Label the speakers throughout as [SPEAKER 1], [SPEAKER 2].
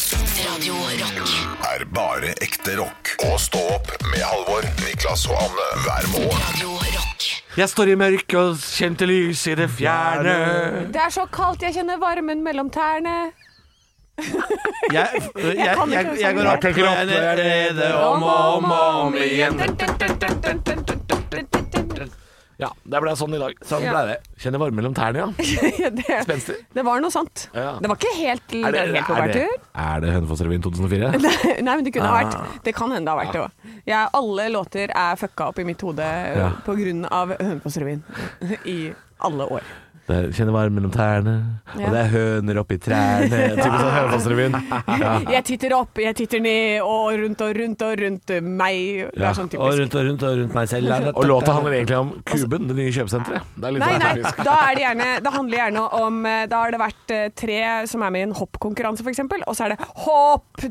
[SPEAKER 1] Radio Rock.
[SPEAKER 2] er bare ekte rock. Og stå opp med Halvor, Niklas og Anne hver morgen.
[SPEAKER 1] Radio Rock.
[SPEAKER 3] Jeg står i mørket og kjente lys i det fjerne.
[SPEAKER 4] Det er så kaldt, jeg kjenner varmen mellom tærne.
[SPEAKER 3] Jeg, jeg, jeg, jeg, jeg
[SPEAKER 4] sånn.
[SPEAKER 3] går opp og jeg er nede om og om og om igjen. Ja, det ble sånn i dag. Sånn
[SPEAKER 4] ble
[SPEAKER 3] det. Kjenner varme mellom tærne, ja.
[SPEAKER 4] det,
[SPEAKER 3] Spenstig.
[SPEAKER 4] det var noe sånt.
[SPEAKER 3] Ja.
[SPEAKER 4] Det var ikke helt,
[SPEAKER 3] Er det,
[SPEAKER 4] helt på
[SPEAKER 3] er det,
[SPEAKER 4] bærtur.
[SPEAKER 3] er det Hønefoss-revyen 2004?
[SPEAKER 4] Nei, men det kunne ha
[SPEAKER 3] Ah.
[SPEAKER 4] vært. Det kan hende det har vært det òg. Jeg- Alle låter er fucka opp i mitt hode
[SPEAKER 3] Ja.
[SPEAKER 4] på grunn av Hønefoss-revyen i alle år.
[SPEAKER 3] Det er, kjenner varme mellom tærne, og
[SPEAKER 4] Ja.
[SPEAKER 3] det er høner oppi trærne. Typisk sånn Hønefoss-revyen. Ja.
[SPEAKER 4] Jeg titter opp, jeg titter ned, og rundt og rundt og rundt meg. Det
[SPEAKER 3] Ja,
[SPEAKER 4] er sånn typisk.
[SPEAKER 3] rundt og rundt og rundt meg selv. Og låta handler egentlig om Kuben, det nye kjøpesenteret. Det er litt
[SPEAKER 4] Nei,
[SPEAKER 3] sånn
[SPEAKER 4] nei,
[SPEAKER 3] typisk.
[SPEAKER 4] da er det gjerne Det handler gjerne om eh, Da har det vært eh, tre som er med i en hoppkonkurranse, f.eks., og så er det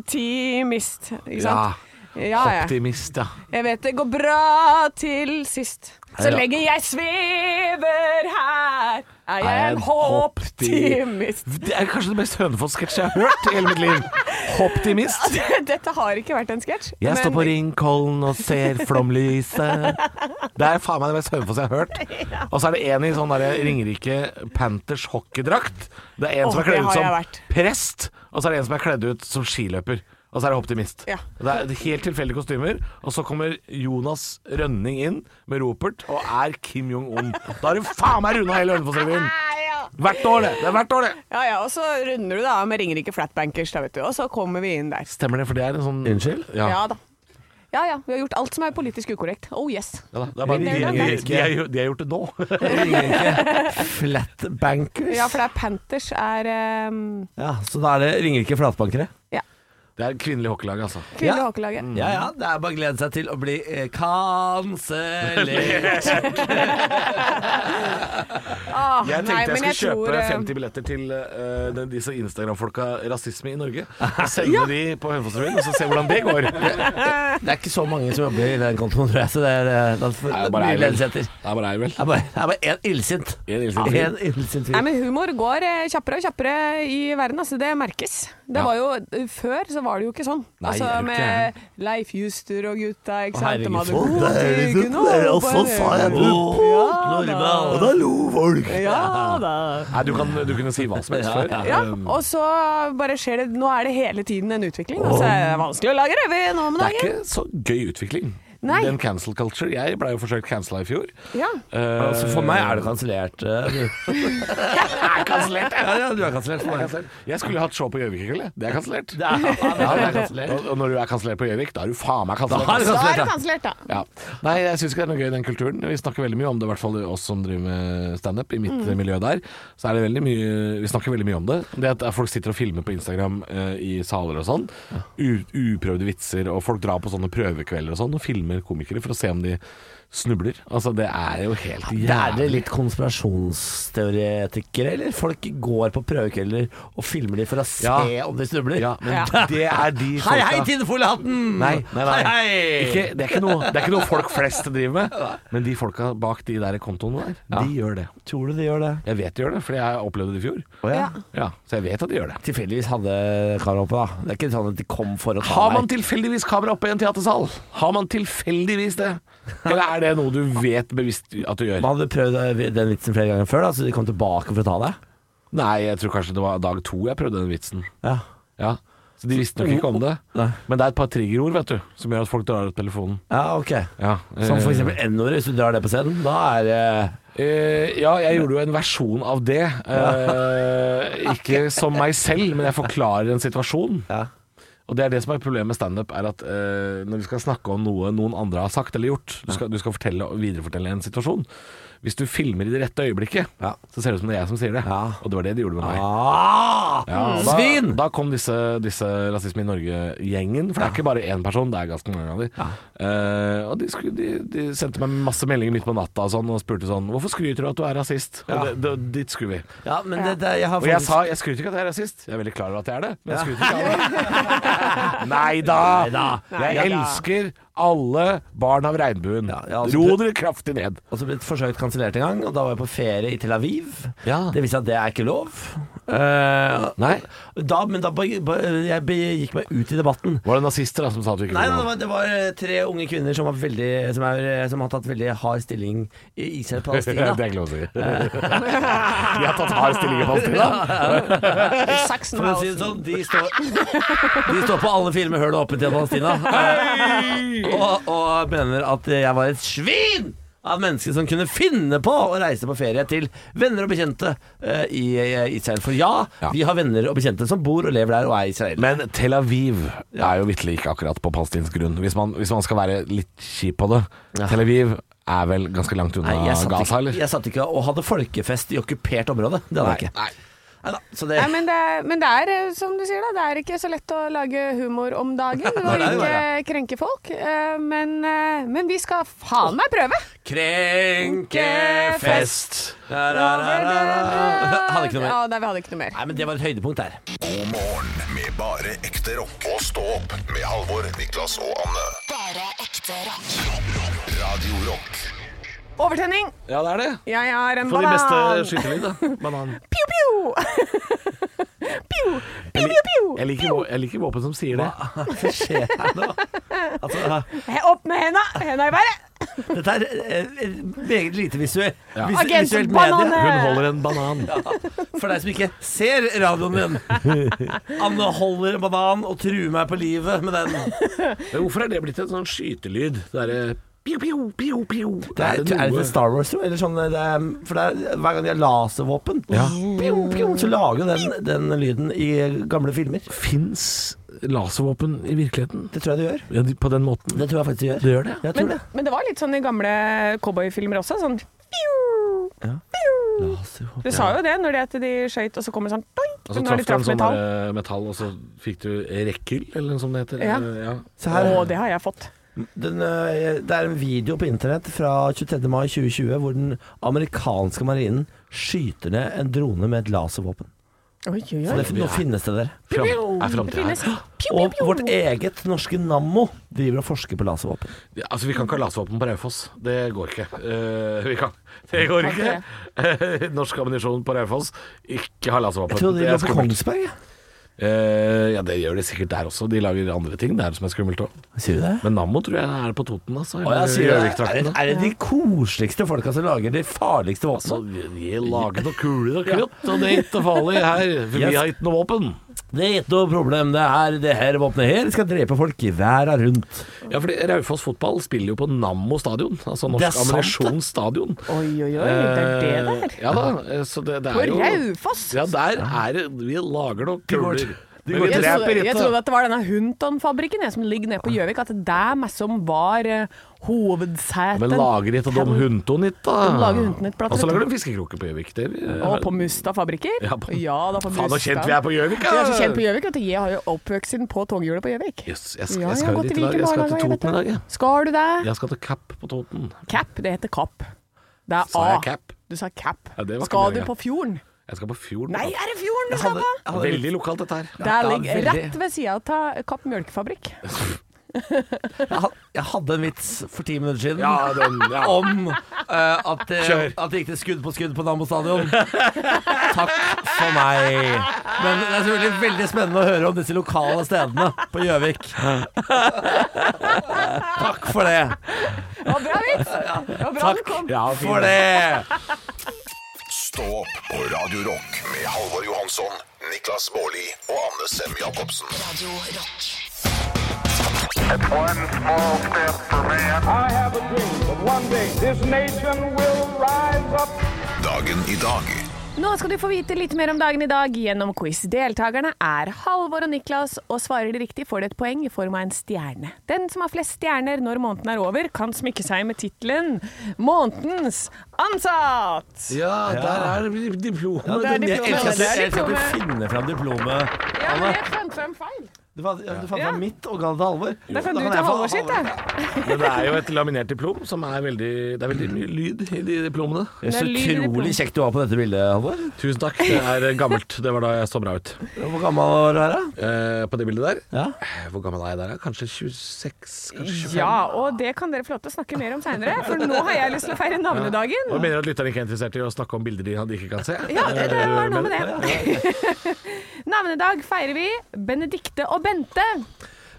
[SPEAKER 4] hopptimist. Ikke sant? Ah, Ja, ja.
[SPEAKER 3] Optimist, ja.
[SPEAKER 4] Jeg vet det går bra til sist. Så
[SPEAKER 3] Ja.
[SPEAKER 4] lenge jeg svever her, er jeg en hopptimist.
[SPEAKER 3] Det er kanskje det mest Hønefoss-sketsjet jeg har hørt i hele mitt liv. Optimist.
[SPEAKER 4] Dette har ikke vært en sketsj.
[SPEAKER 3] Jeg står
[SPEAKER 4] men-
[SPEAKER 3] på Ringkollen og ser flomlyset. Det er faen meg det mest Hønefoss jeg har hørt. Og så er det en i sånn der Ringerike Panthers hockeydrakt. Det er en
[SPEAKER 4] Åh,
[SPEAKER 3] som er kledd
[SPEAKER 4] det har
[SPEAKER 3] ut
[SPEAKER 4] jeg
[SPEAKER 3] som
[SPEAKER 4] vært.
[SPEAKER 3] prest, og så er det en som er kledd ut som skiløper. Og så er det optimist.
[SPEAKER 4] Ja.
[SPEAKER 3] Det er Helt tilfeldige kostymer. Og så kommer Jonas Rønning inn med ropert og er Kim Jong-un. Da har du faen meg runda hele Hønefoss-revyen!
[SPEAKER 4] Nei, ja.
[SPEAKER 3] Hvert år, det. det er hvert år, det.
[SPEAKER 4] Ja, ja, og så runder du da med Ringerike Flatbankers, da, vet du. Og så kommer vi inn der.
[SPEAKER 3] Stemmer det, for det er en sånn Unnskyld? Ja.
[SPEAKER 4] Ja, da. Ja ja, vi har gjort alt som er politisk ukorrekt. Oh yes.
[SPEAKER 3] Ja da, det er bare,
[SPEAKER 4] Men
[SPEAKER 3] de,
[SPEAKER 4] det er
[SPEAKER 3] de,
[SPEAKER 4] det.
[SPEAKER 3] de, har gjort- de har gjort det nå.
[SPEAKER 5] Ringerike Flatbankers.
[SPEAKER 4] Ja, for det er Panthers er um,
[SPEAKER 5] Ja, så da er det Ringerike Flatbankere.
[SPEAKER 4] ja,
[SPEAKER 3] Det er kvinnelig hockeylag, altså.
[SPEAKER 4] kvinnehåkelaget.
[SPEAKER 5] Ja ja, det er bare å glede seg til å bli eh, kansellert.
[SPEAKER 4] Ah,
[SPEAKER 3] Jeg
[SPEAKER 4] nei,
[SPEAKER 3] tenkte
[SPEAKER 4] men
[SPEAKER 3] jeg skulle
[SPEAKER 4] tror,
[SPEAKER 3] kjøpe
[SPEAKER 4] eh,
[SPEAKER 3] 50 billetter til eh, den, disse Instagram-folka Rasisme i Norge. Og sende de på Hønefossrevyen, og så se hvordan det går.
[SPEAKER 5] Det er ikke så mange som jobber i den kontoen, tror jeg, så det er, eh, det er, for-
[SPEAKER 3] Nei, det er bare
[SPEAKER 5] mye
[SPEAKER 3] ei, vel.
[SPEAKER 5] gledelse etter.
[SPEAKER 3] Det er bare ei, vel.
[SPEAKER 5] Det er bare- det er bare én illsint.
[SPEAKER 3] En illsint fyr.
[SPEAKER 5] En illsint
[SPEAKER 4] Nei,
[SPEAKER 5] fyr.
[SPEAKER 4] men humor går eh, kjappere og kjappere i verden, altså. Det merkes. Det var jo, eh, før så var det jo ikke sånn.
[SPEAKER 5] Nei,
[SPEAKER 4] altså
[SPEAKER 5] er du
[SPEAKER 4] med Leif Juster og gutta, ikke sant. De hadde
[SPEAKER 5] herregud,
[SPEAKER 4] god
[SPEAKER 5] liksom,
[SPEAKER 4] tid,
[SPEAKER 5] sånn-
[SPEAKER 4] kunne holde på en hel-
[SPEAKER 5] Og da lo folk.
[SPEAKER 4] Ja da.
[SPEAKER 3] Nei, du, kan, du kunne si hva som helst før. Eh,
[SPEAKER 4] Ja, og så bare skjer det Nå er det hele tiden en utvikling. Altså, det er vanskelig å lage revy nå om
[SPEAKER 3] Det er
[SPEAKER 4] dagen.
[SPEAKER 3] ikke så gøy utvikling.
[SPEAKER 4] Nei.
[SPEAKER 3] Den cancel culture. Jeg blei jo forsøkt cancela i fjor.
[SPEAKER 4] Ja.
[SPEAKER 3] Eh,
[SPEAKER 5] Altså, for meg er det kansellert. eh,
[SPEAKER 3] kansellert, ja.
[SPEAKER 5] Ja, ja, du er kansellert for meg.
[SPEAKER 3] Jeg skulle hatt show på Gjøvik i kveld, jeg. det er kansellert.
[SPEAKER 5] Det
[SPEAKER 3] Ja,
[SPEAKER 5] er,
[SPEAKER 3] det er
[SPEAKER 5] kansellert.
[SPEAKER 3] kansellert. Og- Og når du er kansellert på Gjøvik, da er du faen meg
[SPEAKER 5] Da
[SPEAKER 3] kansellert.
[SPEAKER 5] er det
[SPEAKER 3] altså.
[SPEAKER 4] Da er det
[SPEAKER 5] kansellert, ja.
[SPEAKER 4] kansellert, da.
[SPEAKER 3] Ja. Nei, jeg syns ikke det er noe gøy i den kulturen. Vi snakker veldig mye om det, i hvert fall oss som driver med standup i mitt miljø der. Så er det veldig mye Vi snakker veldig mye om det. Det at folk sitter og filmer på Instagram eh, i saler og sånn. U uprøvde vitser, og folk drar på sånne prøvekvelder og sånn og filmer komikere for å se om de snubler. Altså, det er jo helt
[SPEAKER 5] Det er det
[SPEAKER 3] jævlig.
[SPEAKER 5] litt konspirasjonsteoretikere, eller? Folk går på prøvekvelder og filmer de for å se
[SPEAKER 3] Ja.
[SPEAKER 5] om de snubler.
[SPEAKER 3] Ja, men
[SPEAKER 4] Ja.
[SPEAKER 3] det er de
[SPEAKER 5] Hei, hei,
[SPEAKER 3] folka-
[SPEAKER 5] Tinnefoliehatten!
[SPEAKER 3] Nei, nei, nei.
[SPEAKER 5] Hei, hei!
[SPEAKER 3] Ikke, det, er ikke noe, det er ikke noe folk flest driver med, men de folka bak de der kontoene der, de gjør det.
[SPEAKER 5] Tror du de gjør det?
[SPEAKER 3] Jeg vet de gjør det, fordi jeg opplevde det i fjor.
[SPEAKER 4] Ja.
[SPEAKER 3] Ja, så jeg vet at de gjør det.
[SPEAKER 5] Tilfeldigvis hadde kamera oppe, da. Det er ikke sånn at de kom for å ta
[SPEAKER 3] Har man
[SPEAKER 5] deg.
[SPEAKER 3] tilfeldigvis kamera oppe i en teatersal? Har man tilfeldigvis det? Eller er det noe du vet bevisst at du gjør?
[SPEAKER 5] Man hadde prøvd eh, den vitsen flere ganger før, da, så de kom tilbake for å ta deg.
[SPEAKER 3] Nei, jeg tror kanskje det var dag to jeg prøvde den vitsen.
[SPEAKER 5] Ja.
[SPEAKER 3] Ja, Så de visste nok ikke om det.
[SPEAKER 5] Nei.
[SPEAKER 3] Men det er et par triggerord vet du, som gjør at folk drar opp telefonen.
[SPEAKER 5] ja, ok.
[SPEAKER 3] Ja,
[SPEAKER 5] Som for
[SPEAKER 3] eh,
[SPEAKER 5] eksempel N-ordet, hvis du drar det på scenen. Da er det
[SPEAKER 3] Eh, ja, jeg gjorde jo en versjon av det. Eh, ikke som meg selv, men jeg forklarer en situasjon.
[SPEAKER 5] Ja.
[SPEAKER 3] Og det er det som er problemet med standup, er at eh, når du skal snakke om noe noen andre har sagt eller gjort, du skal, du skal fortelle, viderefortelle en situasjon. Hvis du filmer i det rette øyeblikket,
[SPEAKER 5] Ja.
[SPEAKER 3] så ser det ut som det er jeg som sier det.
[SPEAKER 5] Ja.
[SPEAKER 3] Og det var det de gjorde med meg.
[SPEAKER 5] ah,
[SPEAKER 3] Ja, da,
[SPEAKER 5] Svin!
[SPEAKER 3] Da kom disse, disse Rasisme i Norge-gjengen, for det er ikke bare én person, det er ganske mange av de. Eh, og de, skulle, de, de sendte meg masse meldinger midt på natta og, sånn, og spurte sånn Hvorfor skryter du at du er rasist?
[SPEAKER 5] Ja.
[SPEAKER 3] Og det, det, dit skulle vi.
[SPEAKER 5] Ja, men det, det, jeg har
[SPEAKER 3] Og jeg
[SPEAKER 5] faktisk-
[SPEAKER 3] sa jeg skryter ikke at jeg er rasist. Jeg er veldig klar over at jeg er det, men jeg skryter ikke av det. Nei da! Jeg
[SPEAKER 4] Neida.
[SPEAKER 3] elsker alle barn av regnbuen.
[SPEAKER 5] Ja, ja, altså-
[SPEAKER 3] Ro dere kraftig ned.
[SPEAKER 5] Og så ble det forsøkt kansellert en gang, og da var jeg på ferie i Tel Aviv.
[SPEAKER 3] Ja.
[SPEAKER 5] Det viste seg at det er ikke lov. Eh,
[SPEAKER 3] Nei?
[SPEAKER 5] da, men da ba- ba- jeg begikk meg ut i debatten.
[SPEAKER 3] Var det nazister da som sa at vi ikke
[SPEAKER 5] Nei, det
[SPEAKER 3] kunne ha
[SPEAKER 5] var, det var eh, tre unge kvinner som, var veldig, som, er, eh, som har tatt veldig hard stilling i Israel og
[SPEAKER 3] det
[SPEAKER 5] Palestina.
[SPEAKER 3] er ikke lov å si. Vi har tatt hard stilling i Palestina.
[SPEAKER 5] For å si det sånn, de står, de står på alle fire med høl åpent i Palestina. Eh, Og, og mener at jeg var et svin av mennesker som kunne finne på å reise på ferie til venner og bekjente eh, i eh, Israel. For ja,
[SPEAKER 3] Ja.
[SPEAKER 5] vi har venner og bekjente som bor og lever der og er israelere.
[SPEAKER 3] Men Tel Aviv er jo vitterlig ikke akkurat på palestinsk grunn, hvis man, hvis man skal være litt kjip på det.
[SPEAKER 5] Ja.
[SPEAKER 3] Tel Aviv er vel ganske langt unna
[SPEAKER 5] Nei, jeg satt,
[SPEAKER 3] Gaza,
[SPEAKER 5] ikke,
[SPEAKER 3] eller?
[SPEAKER 5] jeg satt ikke og hadde folkefest i okkupert område. Det hadde jeg ikke.
[SPEAKER 3] Nei.
[SPEAKER 5] Neida, så det,
[SPEAKER 4] Nei, men, det, er- men det er eh, som du sier da, det er ikke så lett å lage humor om dagen og
[SPEAKER 5] det er jo
[SPEAKER 4] ikke
[SPEAKER 5] det.
[SPEAKER 4] krenke folk. eh, Men, eh, men vi skal faen meg prøve!
[SPEAKER 5] Krenkefest! Da, da, da, da, da. Hadde ikke noe mer.
[SPEAKER 4] Ja, nei, vi hadde ikke noe mer.
[SPEAKER 5] Nei, men det var et høydepunkt der.
[SPEAKER 2] God morgen med bare ekte rock. Og stå opp med Halvor, Niklas og Anne.
[SPEAKER 1] Bare ekte rock.
[SPEAKER 2] Radio Rock.
[SPEAKER 4] Overtenning!
[SPEAKER 3] Ja, det er det.
[SPEAKER 4] Jeg har en
[SPEAKER 3] På de beste
[SPEAKER 4] banan.
[SPEAKER 3] skytelyd, da. Banan.
[SPEAKER 4] Piu, piu! piu, piu, piu, piu.
[SPEAKER 3] Jeg liker, vå- jeg liker våpen som sier det.
[SPEAKER 5] Hva skjer her nå? Altså,
[SPEAKER 4] He- Opp med henda! Henda i været!
[SPEAKER 5] dette er eh, eh, meget lite visuelt. Ja.
[SPEAKER 4] Agenten
[SPEAKER 3] Hun
[SPEAKER 4] Banane!
[SPEAKER 3] holder en banan.
[SPEAKER 5] For deg som ikke ser radioen min. Anne holder en banan og truer meg på livet med den.
[SPEAKER 3] Men hvorfor er det blitt en sånn skytelyd? Det eh, derre pio, pio, pio, pio.
[SPEAKER 5] Det er, er det til Star Wars, tror jeg? Eller sånn, eh, det er, for det er, hver gang de har laservåpen, pjong, pjong, så lager jo den, den lyden i gamle filmer.
[SPEAKER 3] Fins laservåpen i virkeligheten?
[SPEAKER 5] Det tror jeg det gjør.
[SPEAKER 3] Ja, de- på den måten?
[SPEAKER 5] Det tror jeg faktisk det gjør.
[SPEAKER 3] Det gjør det.
[SPEAKER 5] Jeg tror
[SPEAKER 4] Men,
[SPEAKER 5] det.
[SPEAKER 4] men det var litt sånn i gamle cowboyfilmer også. Sånn piu,
[SPEAKER 5] Ja.
[SPEAKER 4] piu.
[SPEAKER 5] Laservåpen.
[SPEAKER 4] Du sa jo det når det at de skøyt, og så kommer det sånn doink,
[SPEAKER 3] Altså
[SPEAKER 4] når
[SPEAKER 3] traff du en
[SPEAKER 4] de traff
[SPEAKER 3] sånn
[SPEAKER 4] metall.
[SPEAKER 3] metall. metall, og så fikk du rekkyll, eller noe som det heter.
[SPEAKER 4] Ja.
[SPEAKER 3] Eh, ja.
[SPEAKER 5] Se
[SPEAKER 4] Å,
[SPEAKER 5] her.
[SPEAKER 4] det har jeg fått.
[SPEAKER 5] Den, eh, det er en video på internett fra 23. mai 2020 hvor den amerikanske marinen skyter ned en drone med et laservåpen.
[SPEAKER 4] Oi, oi,
[SPEAKER 5] Så det, nå finnes det der.
[SPEAKER 3] Fram,
[SPEAKER 4] Det
[SPEAKER 3] er framtida
[SPEAKER 4] finnes.
[SPEAKER 3] her. e-
[SPEAKER 4] Piu, piu,
[SPEAKER 5] Og
[SPEAKER 4] piu.
[SPEAKER 5] vårt eget norske Nammo driver og forsker på laservåpen.
[SPEAKER 3] Ja, altså, vi kan ikke ha laservåpen på Raufoss. Det går ikke. Eh, vi kan. Det går ikke. Eh, Norsk ammunisjon på Raufoss, ikke ha laservåpen.
[SPEAKER 5] Jeg tror de
[SPEAKER 3] Det er
[SPEAKER 5] lå på
[SPEAKER 3] skummelt.
[SPEAKER 5] Kongsberg.
[SPEAKER 3] Eh, ja, det gjør de sikkert der også. De lager andre ting der som er skummelt òg.
[SPEAKER 5] Sier du det?
[SPEAKER 3] Men Nammo tror jeg er på Toten, altså.
[SPEAKER 5] Å, ja,
[SPEAKER 3] eller
[SPEAKER 5] sier du det? Er,
[SPEAKER 3] Gjøvik-trakten,
[SPEAKER 5] det-
[SPEAKER 3] da.
[SPEAKER 5] er det de koseligste folka som lager de farligste
[SPEAKER 3] Altså,
[SPEAKER 5] våpnene?
[SPEAKER 3] vi vi lager noe kuler og krutt, og det er ikke farlig her, for vi
[SPEAKER 5] Yes.
[SPEAKER 3] har ikke noe våpen.
[SPEAKER 5] Det er ikke noe problem. Det er det her våpenet her skal drepe folk i verden rundt.
[SPEAKER 3] Ja, fordi Raufoss fotball spiller jo på Nammo stadion, altså
[SPEAKER 5] Det
[SPEAKER 3] Norsk
[SPEAKER 5] er sant, det.
[SPEAKER 3] Ammunisjon stadion.
[SPEAKER 4] Oi, oi, oi, det er det
[SPEAKER 3] Eh,
[SPEAKER 4] der.
[SPEAKER 3] Ja da, eh, så det, det
[SPEAKER 4] På
[SPEAKER 3] er jo
[SPEAKER 4] Raufoss.
[SPEAKER 3] Ja, der er det Vi lager noen
[SPEAKER 5] går-
[SPEAKER 3] kuler.
[SPEAKER 5] de
[SPEAKER 3] Men
[SPEAKER 5] går
[SPEAKER 3] vi
[SPEAKER 4] Jeg,
[SPEAKER 5] til-
[SPEAKER 3] dreper
[SPEAKER 4] trodde-
[SPEAKER 3] ikke.
[SPEAKER 4] jeg trodde at det var denne Hunton-fabrikken jeg, som ligger nede på Gjøvik, at det er meg som var eh, hovedsete.
[SPEAKER 3] Men lager ikke de hundtonitt, da?
[SPEAKER 4] De lager hundtonittplater,
[SPEAKER 3] Og så lager
[SPEAKER 4] vet
[SPEAKER 3] de fiskekroker på Gjøvik. Det vi-
[SPEAKER 4] Og på Mustad fabrikker.
[SPEAKER 3] Ja, på-
[SPEAKER 4] da, på
[SPEAKER 3] Faen, så
[SPEAKER 4] Mustad.
[SPEAKER 3] kjent vi er på Gjøvik,
[SPEAKER 4] Vi er så kjent på Gjøvik, vet du. Jeg har jo oppvokst på toghjulet på Gjøvik.
[SPEAKER 3] Yes, jeg, skal- jeg
[SPEAKER 4] Ja, har
[SPEAKER 3] skal jo
[SPEAKER 4] gått
[SPEAKER 3] dit
[SPEAKER 4] i
[SPEAKER 3] i dag.
[SPEAKER 4] Viken
[SPEAKER 3] Jeg skal
[SPEAKER 4] barnehage,
[SPEAKER 3] til
[SPEAKER 4] jeg vet
[SPEAKER 3] Toten i dag. jeg.
[SPEAKER 4] Skal du det?
[SPEAKER 3] Jeg skal til Kapp på Toten.
[SPEAKER 4] Cap, det heter kapp. Det er
[SPEAKER 3] Sa
[SPEAKER 4] A.
[SPEAKER 3] jeg cap?
[SPEAKER 4] Du sa cap.
[SPEAKER 3] Ja, det var
[SPEAKER 4] skal
[SPEAKER 3] ikke
[SPEAKER 4] du
[SPEAKER 3] meningen.
[SPEAKER 4] på fjorden?
[SPEAKER 3] Jeg skal på fjorden.
[SPEAKER 4] Nei,
[SPEAKER 3] da.
[SPEAKER 4] er det fjorden du
[SPEAKER 5] Jeg
[SPEAKER 4] skal
[SPEAKER 5] hadde-
[SPEAKER 4] på?
[SPEAKER 5] jeg hadde-
[SPEAKER 3] Veldig lokalt, dette her.
[SPEAKER 4] Der
[SPEAKER 5] det er
[SPEAKER 4] ligger
[SPEAKER 5] veldig-
[SPEAKER 4] rett ved sida av Kapp mjølkefabrikk.
[SPEAKER 5] Jeg had- jeg hadde en vits for ti minutter siden.
[SPEAKER 3] Ja, den, ja.
[SPEAKER 5] om eh, at, det,
[SPEAKER 3] Kjør.
[SPEAKER 5] at det gikk til skudd på skudd på Nammo stadion. Takk for meg. Men det er selvfølgelig veldig spennende å høre om disse lokale stedene på Gjøvik. Takk for det.
[SPEAKER 4] Det var bra vits! Det var bra
[SPEAKER 5] Takk.
[SPEAKER 4] du kom.
[SPEAKER 3] Ja, fin.
[SPEAKER 5] For det.
[SPEAKER 2] Stå opp på Radio Rock med Halvor Johansson, Niklas Baarli og Anne Sem Jacobsen.
[SPEAKER 1] Radio rock.
[SPEAKER 6] It's one small step for man.
[SPEAKER 7] I have a dream that one day this nation will rise up.
[SPEAKER 2] Dagen i dag
[SPEAKER 4] Nå skal du få vite litt mer om dagen i dag gjennom quiz. Deltakerne er Halvor og Niklas, og svarer de riktig får de et poeng i form av en stjerne. Den som har flest stjerner når måneden er over, kan smykke seg med tittelen 'Månedens ansatt'.
[SPEAKER 3] ja, der er det diplomet.
[SPEAKER 4] det er
[SPEAKER 5] Jeg elsker
[SPEAKER 4] diplomet.
[SPEAKER 5] at du- jeg elsker at du finner fram diplomet.
[SPEAKER 4] Ja, men jeg fant frem feil.
[SPEAKER 5] Du fant, ja, du fant
[SPEAKER 4] Ja.
[SPEAKER 5] fram mitt og ga det til Halvor.
[SPEAKER 4] Da kan du
[SPEAKER 5] jeg
[SPEAKER 4] ta
[SPEAKER 5] få
[SPEAKER 4] Halvor sitt, da.
[SPEAKER 3] Men det er jo et laminert diplom som er veldig Det er veldig mye lyd i de diplomene.
[SPEAKER 5] Det er
[SPEAKER 4] Det
[SPEAKER 5] så
[SPEAKER 4] er lyd i
[SPEAKER 5] utrolig
[SPEAKER 4] diplomet.
[SPEAKER 5] kjekk du var på dette bildet, Halvor.
[SPEAKER 3] Tusen takk. Det er eh, gammelt. Det var da jeg så bra ut.
[SPEAKER 5] Hvor gammel var du her, da?
[SPEAKER 3] Eh, på det bildet der.
[SPEAKER 5] Ja.
[SPEAKER 3] Eh, Hvor gammel er jeg der? da? Kanskje 26? Kanskje 25?
[SPEAKER 4] Ja, og det kan dere få lov til å snakke mer om seinere, for nå har jeg lyst til å feire navnedagen.
[SPEAKER 3] Og jeg mener at lytterne ikke er interessert i å snakke om bilder de de ikke kan se?
[SPEAKER 4] Ja, det, det
[SPEAKER 3] Eh,
[SPEAKER 4] var noe
[SPEAKER 3] men-
[SPEAKER 4] med det. Navnedag feirer vi Benedikte og Bente.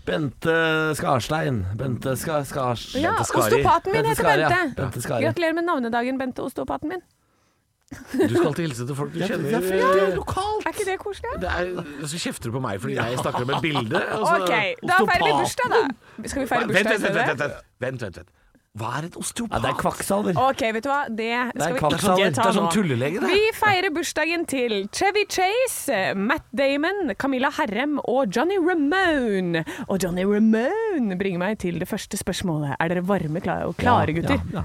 [SPEAKER 5] Bente Skarstein. Bente Ska, Skars...
[SPEAKER 4] Ja,
[SPEAKER 5] Bente Skari.
[SPEAKER 4] Osteopaten min
[SPEAKER 5] Bente
[SPEAKER 4] heter
[SPEAKER 5] Skari, ja.
[SPEAKER 4] Bente.
[SPEAKER 5] Bente Skari.
[SPEAKER 4] Gratulerer med navnedagen, Bente Osteopaten min.
[SPEAKER 3] Du skal alltid hilse til folk du kjenner.
[SPEAKER 5] Ja, for det er lokalt.
[SPEAKER 4] Er ikke det koselig?
[SPEAKER 3] Det er, så kjefter du på meg fordi jeg snakker om et bilde. og
[SPEAKER 5] altså
[SPEAKER 3] så-
[SPEAKER 4] Ok, da feirer vi bursdag, da. Skal vi feire
[SPEAKER 3] Vent, vent,
[SPEAKER 4] bursdag
[SPEAKER 3] vent,
[SPEAKER 4] i
[SPEAKER 3] vent,
[SPEAKER 4] stedet?
[SPEAKER 3] vent, vent, vent, vent. Hva er et
[SPEAKER 5] Ja,
[SPEAKER 3] osteopat?
[SPEAKER 5] det er kvakksalver.
[SPEAKER 4] Ok, vet du hva? Det
[SPEAKER 5] Det
[SPEAKER 4] skal
[SPEAKER 5] er
[SPEAKER 4] vi
[SPEAKER 5] kvakksalver.
[SPEAKER 4] ikke
[SPEAKER 5] Det
[SPEAKER 4] ta
[SPEAKER 5] er
[SPEAKER 4] nå.
[SPEAKER 5] sånn tullelege, det.
[SPEAKER 4] Vi feirer bursdagen til Chevy Chase, Matt Damon, Camilla Herrem og Johnny Ramone. Og Johnny Ramone bringer meg til det første spørsmålet. Er dere varme klare, og klare gutter?
[SPEAKER 5] Ja, ja.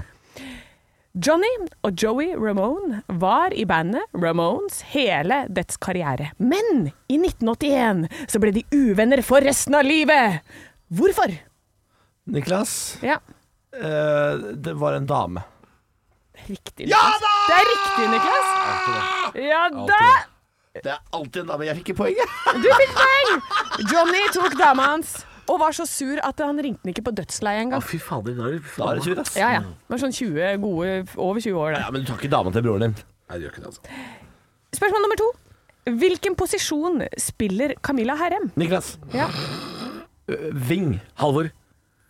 [SPEAKER 4] Johnny og Joey Ramone var i bandet Ramones hele dets karriere. Men i 1981 så ble de uvenner for resten av livet. Hvorfor?
[SPEAKER 5] Niklas,
[SPEAKER 4] Ja,
[SPEAKER 5] eh, det var en dame.
[SPEAKER 4] riktig. Niklas. Det er riktig, Niklas. Ja da!
[SPEAKER 5] Det er alltid en dame. Jeg fikk ikke poenget.
[SPEAKER 4] Du fikk poeng! Johnny tok dama hans og var så sur at han ringte den ikke på dødsleiet engang.
[SPEAKER 3] Fy fader, da er det
[SPEAKER 5] Da er det tjur, ass.
[SPEAKER 4] Ja, ja. Var sånn 20 gode, over 20 år.
[SPEAKER 5] Ja,
[SPEAKER 4] Da.
[SPEAKER 5] men du tar ikke dama til broren din.
[SPEAKER 3] Nei, det gjør ikke det, altså.
[SPEAKER 4] Spørsmål nummer to. Hvilken posisjon spiller Camilla Herrem?
[SPEAKER 5] Niklas.
[SPEAKER 4] Ja.
[SPEAKER 5] Ø, Ving.
[SPEAKER 3] Halvor.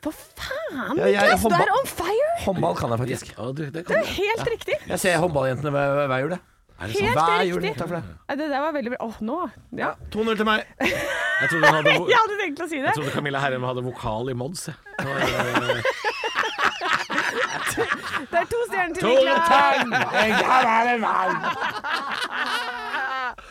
[SPEAKER 4] For faen,
[SPEAKER 5] Ja, jeg er
[SPEAKER 4] Niklas! Du
[SPEAKER 5] håndball-
[SPEAKER 4] er on fire!
[SPEAKER 5] Håndball kan jeg faktisk.
[SPEAKER 3] Ja, du, det
[SPEAKER 4] Det
[SPEAKER 3] kan
[SPEAKER 4] er helt riktig.
[SPEAKER 5] Jeg ser håndballjentene hver, hver jul, jeg.
[SPEAKER 4] Helt
[SPEAKER 5] Hver jul.
[SPEAKER 4] riktig.
[SPEAKER 5] Takk for det.
[SPEAKER 4] Ja, det der var veldig bra. Åh, nå. Ja.
[SPEAKER 5] 2-0 til meg.
[SPEAKER 3] Jeg trodde, hun hadde, vo-
[SPEAKER 4] Jeg hadde tenkt å si det.
[SPEAKER 3] jeg trodde Camilla Herrem hadde vokal i Mods. jeg. eh,
[SPEAKER 4] Det er to stjerner til Niklas.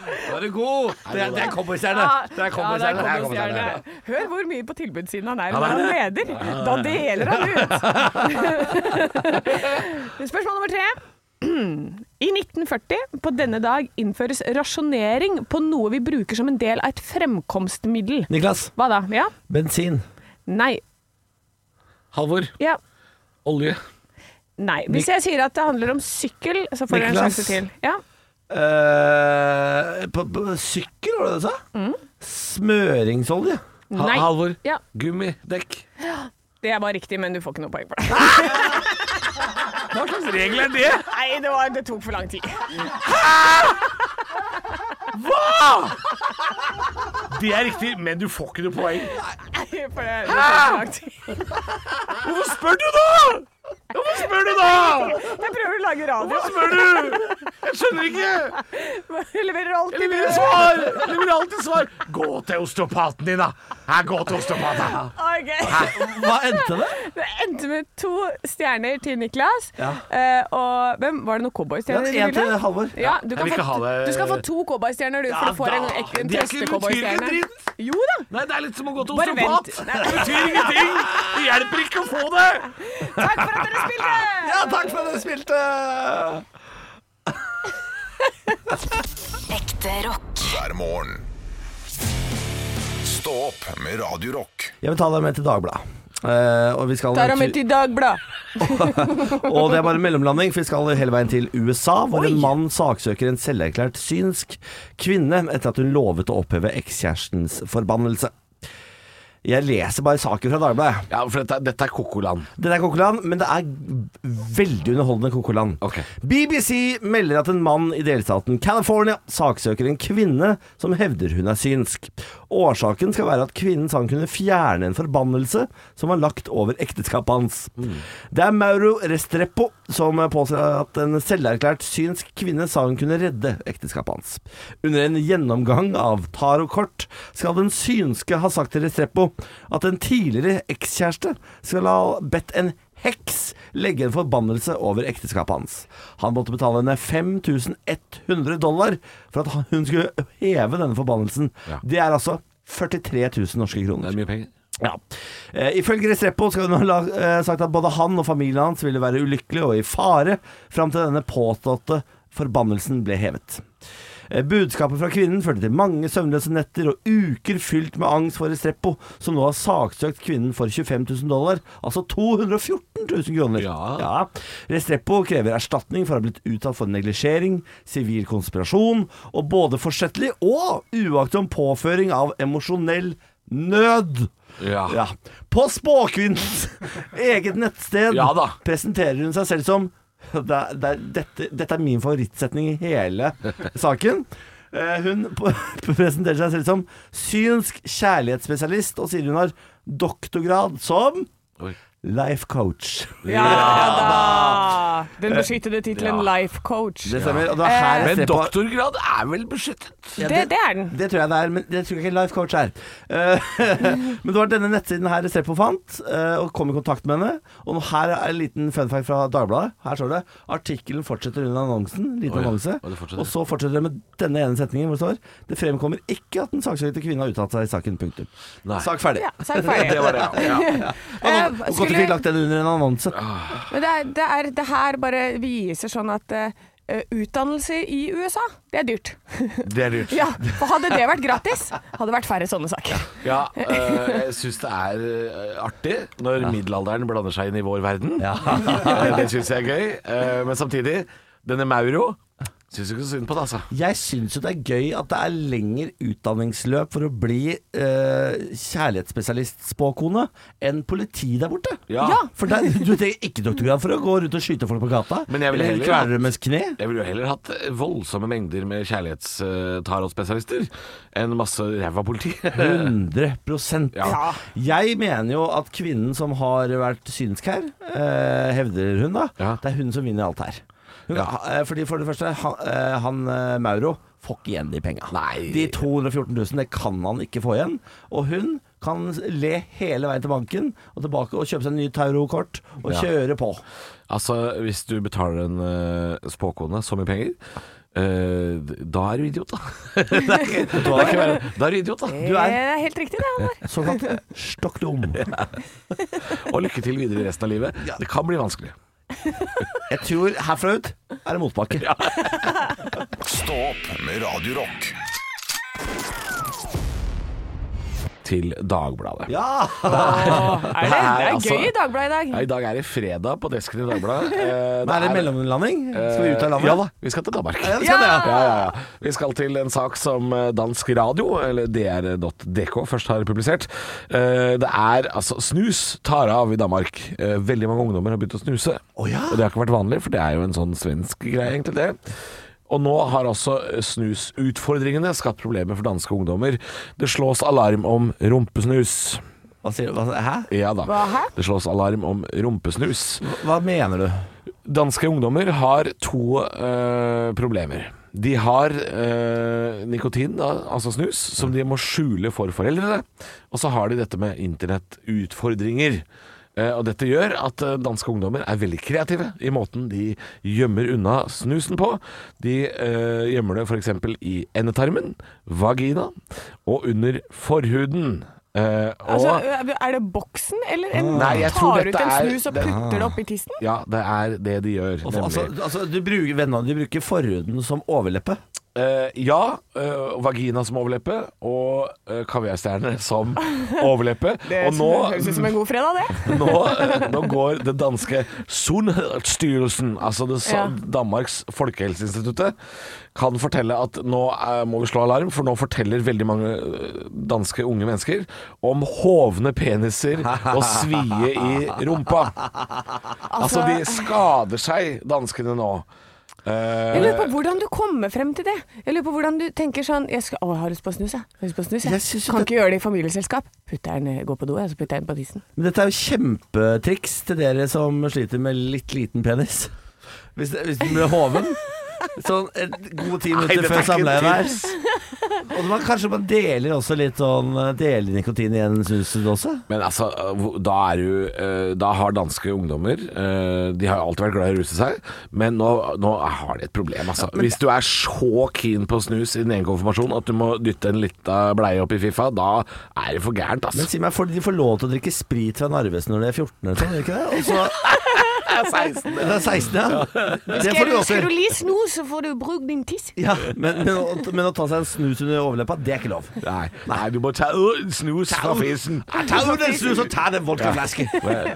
[SPEAKER 5] Da er du god. Det er, det er cowboystjerne.
[SPEAKER 4] Ja, ja,
[SPEAKER 5] Det er
[SPEAKER 4] det er
[SPEAKER 5] cowboystjerne. Det er
[SPEAKER 4] cowboystjerne.
[SPEAKER 5] cowboystjerne.
[SPEAKER 4] Hør hvor mye på tilbudssiden han er når han leder. Da deler han ut. Spørsmål nummer tre. I 1940, på denne dag, innføres rasjonering på noe vi bruker som en del av et fremkomstmiddel.
[SPEAKER 5] Niklas.
[SPEAKER 4] Hva da? Ja?
[SPEAKER 5] Bensin.
[SPEAKER 4] Nei.
[SPEAKER 3] Halvor.
[SPEAKER 4] Ja.
[SPEAKER 3] Olje.
[SPEAKER 4] Nei. Hvis jeg sier at det handler om sykkel, så får dere en
[SPEAKER 5] Niklas.
[SPEAKER 4] sjanse til. Ja.
[SPEAKER 5] Eh, på, på sykkel, var det det du sa?
[SPEAKER 4] Mm.
[SPEAKER 5] Smøringsolje.
[SPEAKER 3] Ha
[SPEAKER 4] Nei.
[SPEAKER 3] Halvor.
[SPEAKER 4] Ja.
[SPEAKER 3] Gummi. Dekk.
[SPEAKER 4] Det var riktig, men du får ikke noe poeng for det.
[SPEAKER 3] Hva slags regel er det?
[SPEAKER 4] Nei, det, var, det tok for lang tid.
[SPEAKER 3] Det er riktig, men du får ikke noe poeng.
[SPEAKER 4] For det, det tok for lang tid.
[SPEAKER 3] Hvorfor spør du da?! Hvorfor spør du da?!
[SPEAKER 4] Jeg prøver å lage radio.
[SPEAKER 3] Spør du?! Jeg skjønner ikke!
[SPEAKER 4] Jeg leverer alltid
[SPEAKER 3] Leverer svar! Leverer alltid svar. Gå til osteopaten din, da. Her, gå til osteopaten.
[SPEAKER 4] Ah, Ok.
[SPEAKER 5] Hva endte det?
[SPEAKER 4] Det endte med to stjerner til Niklas.
[SPEAKER 5] Ja.
[SPEAKER 4] Eh, og hvem Var det noen cowboystjerner?
[SPEAKER 5] Ja, en
[SPEAKER 4] du ville?
[SPEAKER 5] til Halvor.
[SPEAKER 4] Ja, du, kan
[SPEAKER 3] vil ikke
[SPEAKER 4] få,
[SPEAKER 3] ha det-
[SPEAKER 4] du skal få to cowboystjerner, du, for
[SPEAKER 5] Ja,
[SPEAKER 4] du får en,
[SPEAKER 5] da.
[SPEAKER 4] ek- en
[SPEAKER 5] Det er ikke
[SPEAKER 4] trøste-cowboystjerne.
[SPEAKER 5] betydelig dritt.
[SPEAKER 4] Jo da!
[SPEAKER 3] Nei, det er litt som å gå til
[SPEAKER 4] Bare vent.
[SPEAKER 3] osteopat. Det betyr ingenting. Det hjelper ikke å få det.
[SPEAKER 4] Takk for at dere spilte!
[SPEAKER 5] Ja, takk for at dere spilte!
[SPEAKER 1] Ekte rock.
[SPEAKER 2] hver morgen. Stå opp med Radio Rock.
[SPEAKER 5] Jeg vil ta deg med til Dagbladet. Eh, og, vi skal
[SPEAKER 4] Tar ham ut i Dagbladet.
[SPEAKER 5] og det er bare en mellomlanding, for vi skal hele veien til USA, hvor en mann saksøker en selverklært synsk kvinne etter at hun lovet å oppheve ekskjærestens forbannelse. Jeg leser bare saker fra Dagbladet.
[SPEAKER 3] Ja, for dette, dette er kokoland.
[SPEAKER 5] Det er kokoland, men det er veldig underholdende kokoland.
[SPEAKER 3] Ok.
[SPEAKER 5] BBC melder at en mann i delstaten California saksøker en kvinne som hevder hun er synsk. Årsaken skal være at kvinnen sa hun kunne fjerne en forbannelse som var lagt over ekteskapet hans. Det er Mauro Restrepo som påstår at en selverklært synsk kvinne sa hun kunne redde ekteskapet hans. Under en gjennomgang av tarotkort skal den synske ha sagt til Restrepo at en tidligere ekskjæreste skal ha bedt en heks legge en forbannelse over ekteskapet hans. Han måtte betale henne 5100 dollar for at han- hun skulle heve denne forbannelsen.
[SPEAKER 3] Ja.
[SPEAKER 5] Det er altså 43 000 norske kroner.
[SPEAKER 3] Det er mye penger.
[SPEAKER 5] Ja. Eh, ifølge Restrepo skal hun ha la- eh, sagt at både han og familien hans ville være ulykkelige og i fare fram til denne påståtte forbannelsen ble hevet. Eh, Budskapet fra kvinnen førte til mange søvnløse netter og uker fylt med angst for Restrepo, som nå har saksøkt kvinnen for 25 000 dollar, altså 214 000 kroner.
[SPEAKER 3] Ja.
[SPEAKER 5] Restrepo krever erstatning for å ha blitt utsatt for neglisjering, sivil konspirasjon og både forsettlig og uaktom påføring av emosjonell nød.
[SPEAKER 3] Ja.
[SPEAKER 5] Ja. På spåkvinnens eget nettsted
[SPEAKER 3] Ja da.
[SPEAKER 5] presenterer hun seg selv som det er, det er, dette, dette er min favorittsetning i hele saken. Eh, Hun p- presenterer seg selv som synsk kjærlighetsspesialist og sier hun har doktorgrad som
[SPEAKER 3] Oi.
[SPEAKER 5] life coach.
[SPEAKER 4] Ja da! Den beskyttede tittelen
[SPEAKER 3] Ja.
[SPEAKER 4] life coach.
[SPEAKER 5] Det stemmer. Og det er her jeg
[SPEAKER 3] Men
[SPEAKER 5] ser på
[SPEAKER 3] doktorgrad er vel beskyttet?
[SPEAKER 5] Ja,
[SPEAKER 4] Det, det er den.
[SPEAKER 5] Det tror jeg det er, men det tror jeg ikke Life Coach er. Eh, men det var denne nettsiden her Restrepo fant, eh, og kom i kontakt med henne. Og nå her er en liten fun fact fra Dagbladet. Her står det artikkelen fortsetter under annonsen. Liten
[SPEAKER 3] Oi, ja.
[SPEAKER 5] annonse.
[SPEAKER 3] Og det fortsetter.
[SPEAKER 5] Og så fortsetter det med denne ene setningen hvor det står Det fremkommer ikke at den saksøkte kvinnen har uttalt seg i saken. Punktum.
[SPEAKER 3] Nei.
[SPEAKER 5] Sak ferdig.
[SPEAKER 4] Ja, sak ferdig.
[SPEAKER 3] Det var det, ja. ja.
[SPEAKER 4] Eh,
[SPEAKER 5] Og godt vi
[SPEAKER 4] skulle-
[SPEAKER 5] fikk lagt den under en annonse.
[SPEAKER 4] Men det, er, det, er, det her bare viser sånn at eh, utdannelse i USA, det er dyrt.
[SPEAKER 3] Det er lurt.
[SPEAKER 4] Ja, for Hadde det vært gratis, hadde det vært færre sånne saker.
[SPEAKER 3] Ja, øh, jeg syns det er øh, artig når middelalderen blander seg inn i vår verden. Eh, det syns jeg er gøy. Eh, men samtidig, denne Mauro syns ikke så synd på det, altså.
[SPEAKER 5] Jeg syns jo det er gøy at det er lengre utdanningsløp for å bli eh, kjærlighetsspesialist-spåkone enn politi der borte.
[SPEAKER 3] Ja. Ja.
[SPEAKER 5] For der, du trenger ikke doktorgrad for å gå rundt og skyte folk på gata.
[SPEAKER 3] Men jeg vil
[SPEAKER 5] eller
[SPEAKER 3] heller-
[SPEAKER 5] kvele deres kne.
[SPEAKER 3] Jeg ville jo heller hatt voldsomme mengder med kjærlighetstarotspesialister enn masse ræva politi.
[SPEAKER 5] Eh, 100
[SPEAKER 3] Ja.
[SPEAKER 5] Jeg mener jo at kvinnen som har vært synsk her, eh, hevder hun da,
[SPEAKER 3] Ja.
[SPEAKER 5] det er hun som vinner alt her. Hun, eh, Fordi for det første, han, eh, han eh, Mauro får ikke igjen de penga.
[SPEAKER 3] Nei.
[SPEAKER 5] De 214 000, det kan han ikke få igjen. Og hun kan le hele veien til banken og tilbake og kjøpe seg en ny tarokort og
[SPEAKER 3] Ja.
[SPEAKER 5] kjøre på.
[SPEAKER 3] Altså, hvis du betaler en eh, spåkone så mye penger eh, da er du idiot, da. det er ikke, det er Eh, ikke verre. Da er du idiot, da.
[SPEAKER 5] Du er
[SPEAKER 4] Eh, Det er helt riktig, det. Halvor.
[SPEAKER 5] såkalt stokk dum.
[SPEAKER 3] Og lykke til videre i resten av livet. Det kan bli vanskelig.
[SPEAKER 5] Jeg tror herfra ut er det motbakke.
[SPEAKER 2] Stå opp med Radio Rock.
[SPEAKER 3] Til Dagbladet.
[SPEAKER 5] Ja!
[SPEAKER 4] Er det, det er
[SPEAKER 3] altså-
[SPEAKER 4] gøy i Dagbladet i
[SPEAKER 3] Ja,
[SPEAKER 4] dag.
[SPEAKER 3] I dag er det fredag på desken i Dagbladet. Eh,
[SPEAKER 5] Men er det Eh,
[SPEAKER 3] er-
[SPEAKER 5] mellomlanding? Skal vi ut av landet?
[SPEAKER 3] Ja da, vi skal til Danmark.
[SPEAKER 5] Ja, det skal det, ja.
[SPEAKER 3] Ja, ja, ja. Vi skal til en sak som eh, dansk radio, eller dr.dk, først har publisert. Eh, Det er altså Snus tar av i Danmark. Eh, Veldig mange ungdommer har begynt å snuse.
[SPEAKER 5] Å ja.
[SPEAKER 3] Og det har ikke vært vanlig, for det er jo en sånn svensk greie, egentlig det. Og nå har altså snusutfordringene skapt problemer for danske ungdommer. Det slås alarm om rumpesnus.
[SPEAKER 5] Hva sier du? Hva- Hæ?
[SPEAKER 3] Ja da.
[SPEAKER 4] Hva, hæ?
[SPEAKER 3] Det slås alarm om rumpesnus.
[SPEAKER 5] Hva mener du?
[SPEAKER 3] Danske ungdommer har to eh, problemer. De har eh, nikotin, da, altså snus, som de må skjule for foreldrene. Og så har de dette med internettutfordringer. Eh, og dette gjør at eh, danske ungdommer er veldig kreative i måten de gjemmer unna snusen på. De eh, gjemmer det f.eks. i endetarmen, vagina og under forhuden. Eh, og,
[SPEAKER 4] Altså, er det boksen, eller en,
[SPEAKER 3] Nei, jeg tror
[SPEAKER 4] tar ut
[SPEAKER 3] dette
[SPEAKER 4] en
[SPEAKER 3] er-
[SPEAKER 4] snus og
[SPEAKER 3] det-
[SPEAKER 4] putter det oppi tissen?
[SPEAKER 3] ja, det er det de gjør.
[SPEAKER 5] Og for- Altså,
[SPEAKER 3] nemlig.
[SPEAKER 5] altså, du bruker, vennene de bruker forhuden som overleppe.
[SPEAKER 3] Eh, ja, eh, vagina som overleppe og uh, kaviarstjerne som overleppe.
[SPEAKER 4] Det
[SPEAKER 3] og nå,
[SPEAKER 4] høres ut som en god fredag, det.
[SPEAKER 3] nå, eh, nå går det danske Sundhedsstyrelsen, altså det, sa-
[SPEAKER 4] Ja.
[SPEAKER 3] Danmarks folkehelseinstituttet, kan fortelle at nå eh, må vi slå alarm, for nå forteller veldig mange eh, danske unge mennesker om hovne peniser og svie i rumpa. Altså, de skader seg, danskene nå. Eh,
[SPEAKER 4] Jeg lurer på hvordan du kommer frem til det. Jeg lurer på hvordan du tenker sånn jeg, skal, å, jeg har lyst på snus, jeg. jeg, har lyst på snus, jeg.
[SPEAKER 5] Jeg synes jo
[SPEAKER 4] kan
[SPEAKER 5] det-
[SPEAKER 4] ikke gjøre det i familieselskap. Putter jeg den, eh, Gå på do, jeg, så putter jeg den på tissen.
[SPEAKER 5] Men dette er jo kjempetriks til dere som sliter med litt liten penis. Hvis, hvis den blir hoven. Sånn et gode ti minutter
[SPEAKER 3] dette er
[SPEAKER 5] før
[SPEAKER 3] ikke
[SPEAKER 5] samleie der.
[SPEAKER 3] tips.
[SPEAKER 5] Og man, kanskje man deler også litt sånn Deler nikotin i en snusdose.
[SPEAKER 3] Men altså, hvor- da er jo eh, Da har danske ungdommer eh, De har jo alltid vært glad i å ruse seg Men nå, nå har de et problem altså. Hvis du er så keen på snus i din egen konfirmasjon At du må dytte en liten bleie opp i fiffa Da er det for gærent
[SPEAKER 5] Men
[SPEAKER 3] altså.
[SPEAKER 5] si meg, får de får lov til å drikke sprit fra Narvesen når de er 14 eller sånn, gjør de ikke det? Og så
[SPEAKER 3] er 16.
[SPEAKER 5] Det er 16, ja. Det
[SPEAKER 8] Skal
[SPEAKER 5] får du
[SPEAKER 8] du,
[SPEAKER 5] også
[SPEAKER 8] skal du li snus, så får du brukt din tiss.
[SPEAKER 5] ja, men, men, å- men å ta seg en snus under overleppa, det er ikke lov.
[SPEAKER 3] Nei, nei, du må ta ut snus fra fisen.
[SPEAKER 5] Ja, Ta ut en snus og ta den vodkaflasken.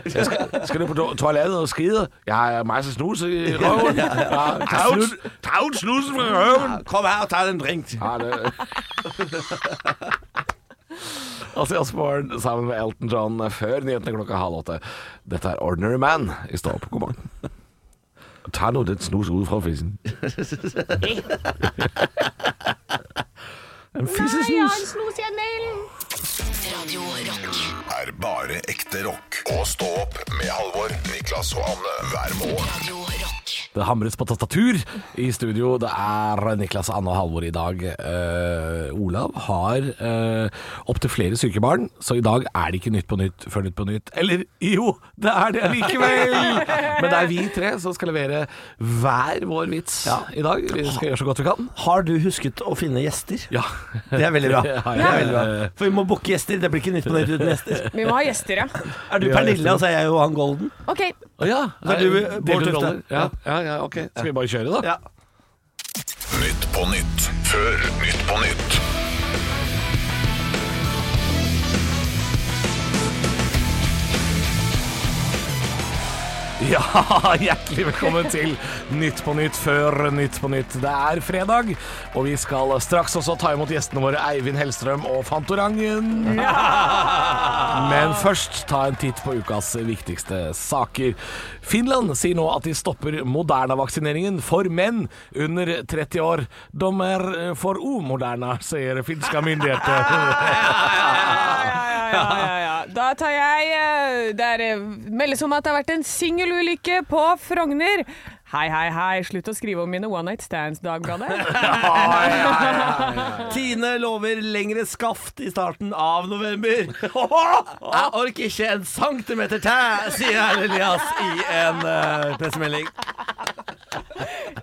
[SPEAKER 3] Jeg skal, skal du på to- toalettet og skide? Jeg har masse snus i røven. Ja, ta, ut, ta ut snusen fra røven!
[SPEAKER 5] Kom her og ta en drink.
[SPEAKER 3] Ja, det... Altså Osborne sammen med Elton John før nyhetene klokka halv åtte. Dette er Ordinary Man i Stå opp. God morgen. Ta nå den snus ut fra fisen.
[SPEAKER 8] Nei, jeg har en snus i anelen.
[SPEAKER 1] Radio Rock.
[SPEAKER 2] er bare ekte rock. Og stå opp med Halvor, Niklas og Anne hver morgen.
[SPEAKER 1] Radio Rock.
[SPEAKER 3] Det hamres på tastatur i studio. Det er Niklas, Anne og Halvor i dag. Eh, Olav har uh, opptil flere syke barn, så i dag er det ikke Nytt på Nytt før Nytt på Nytt. Eller jo, det er det allikevel! Men det er vi tre som skal levere hver vår vits i dag. Vi skal gjøre så godt vi kan.
[SPEAKER 5] Har du husket å finne gjester?
[SPEAKER 3] Ja.
[SPEAKER 5] Det er veldig bra.
[SPEAKER 3] Det har jeg.
[SPEAKER 5] Det er veldig bra. For vi må booke gjester. Det blir ikke Nytt på Nytt uten gjester.
[SPEAKER 4] Vi må ha gjester, ja.
[SPEAKER 5] Er du
[SPEAKER 3] Vi har
[SPEAKER 5] Pernille,
[SPEAKER 3] gjester.
[SPEAKER 5] og så er jeg Johan Golden?
[SPEAKER 4] OK.
[SPEAKER 3] Å ja.
[SPEAKER 5] Så er du, eh, Bård
[SPEAKER 3] Deler
[SPEAKER 5] Tufte.
[SPEAKER 3] roller. Ja, ja, ja, ok. Skal vi bare kjøre, da?
[SPEAKER 5] Ja.
[SPEAKER 2] Nytt på nytt før Nytt på nytt.
[SPEAKER 3] Ja, hjertelig velkommen til Nytt på Nytt før Nytt på Nytt. Det er fredag, og vi skal straks også ta imot gjestene våre Eivind Hellstrøm og Fantorangen. Men først ta en titt på ukas viktigste saker. Finland sier nå at de stopper Moderna-vaksineringen for menn under 30 år. De er for umoderna, sier finska myndigheter.
[SPEAKER 4] Da tar jeg eh, Det er, eh, meldes om at det har vært en singelulykke på Frogner. Hei, hei, hei. Slutt å skrive om mine one night stands, Dagbladet.
[SPEAKER 5] Tine lover lengre skaft i starten av november. Jeg orker ikke en centimeter til, sier Erlend Elias i en eh, pressemelding.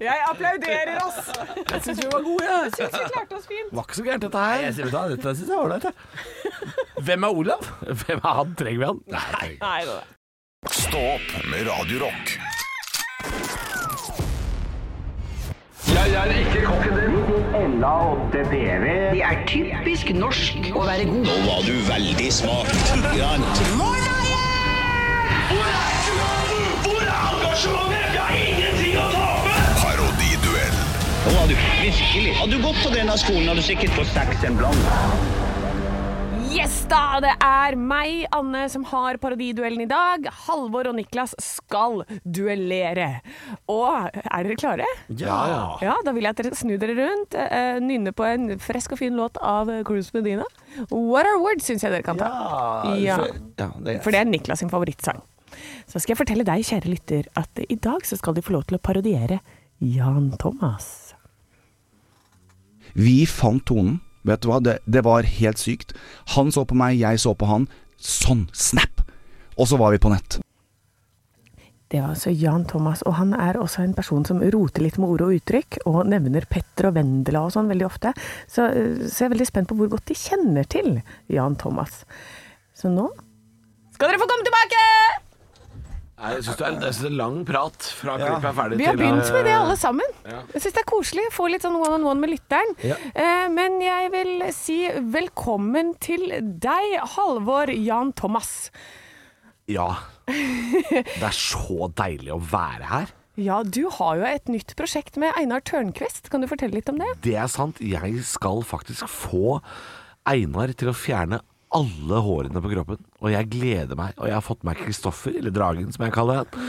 [SPEAKER 4] Jeg applauderer oss. Jeg syns vi var gode. Jeg syns vi klarte oss fint.
[SPEAKER 3] Var ikke så gærent, dette her.
[SPEAKER 5] Jeg sier, vet du hva, dette synes jeg er ålreit, jeg. Hvem er Olav?
[SPEAKER 3] Hvem er han? Trenger vi han? Nei.
[SPEAKER 4] Nei, det var-
[SPEAKER 2] Stå opp med Radio Rock. Parodiduell.
[SPEAKER 9] Nå var du virkelig. Hadde du gått på denne skolen, hadde du sikkert fått seks en blant.
[SPEAKER 4] Yes da, det er meg, Anne, som har parodiduellen i dag. Halvor og Niklas skal duellere. Og er dere klare?
[SPEAKER 5] Ja, ja.
[SPEAKER 4] Ja, da vil jeg at dere snur dere rundt, eh, nynne på en fresk og fin låt av eh, Cruise Medina. What Are Words syns jeg dere kan ta. Ja,
[SPEAKER 5] det er
[SPEAKER 4] For det er Niklas sin favorittsang. Så skal jeg fortelle deg, kjære lytter, at i dag så skal de få lov til å parodiere Jan Thomas.
[SPEAKER 10] Vi fant tonen. Vet du hva, det, det var helt sykt. Han så på meg, jeg så på han. Sånn! Snap! Og så var vi på nett.
[SPEAKER 4] Det var altså Jan Thomas, og han er også en person som roter litt med ord og uttrykk, og nevner Petter og Vendela og sånn veldig ofte. Så, eh, så jeg er veldig spent på hvor godt de kjenner til Jan Thomas. Så nå skal dere få komme tilbake!
[SPEAKER 3] Nei, Jeg syns det, er- jeg synes det er lang prat fra klippet er ferdig
[SPEAKER 4] Vi har
[SPEAKER 3] til eh,
[SPEAKER 4] begynt med det alle sammen. Jeg syns det er koselig. Få litt sånn one on one med lytteren. Eh, Men jeg vil si velkommen til deg, Halvor Jan Thomas.
[SPEAKER 3] Ja. Det er så deilig å være her.
[SPEAKER 4] Ja, du har jo et nytt prosjekt med Einar Tørnquist. Kan du fortelle litt om det?
[SPEAKER 3] Det er sant. Jeg skal faktisk få Einar til å fjerne alle hårene på kroppen. Og jeg gleder meg. Og jeg har fått meg Kristoffer, eller Dragen som jeg kaller han.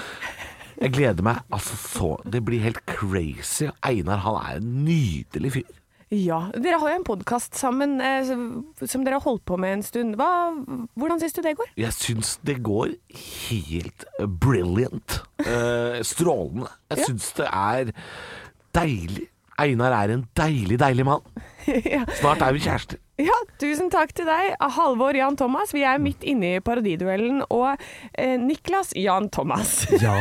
[SPEAKER 3] Jeg gleder meg altså så Det blir helt crazy. Einar han er en nydelig fyr.
[SPEAKER 4] Ja, Dere har jo en podkast sammen eh, som dere har holdt på med en stund. Hva, hvordan syns du det går?
[SPEAKER 3] Jeg syns det går helt brilliant. Eh, strålende. Jeg syns det er deilig. Einar er en deilig, deilig mann. Snart er vi kjærester.
[SPEAKER 4] Ja, Tusen takk til deg, Halvor Jan Thomas. Vi er midt inne i parodiduellen. Og eh, Niklas Jan Thomas.
[SPEAKER 5] Ja.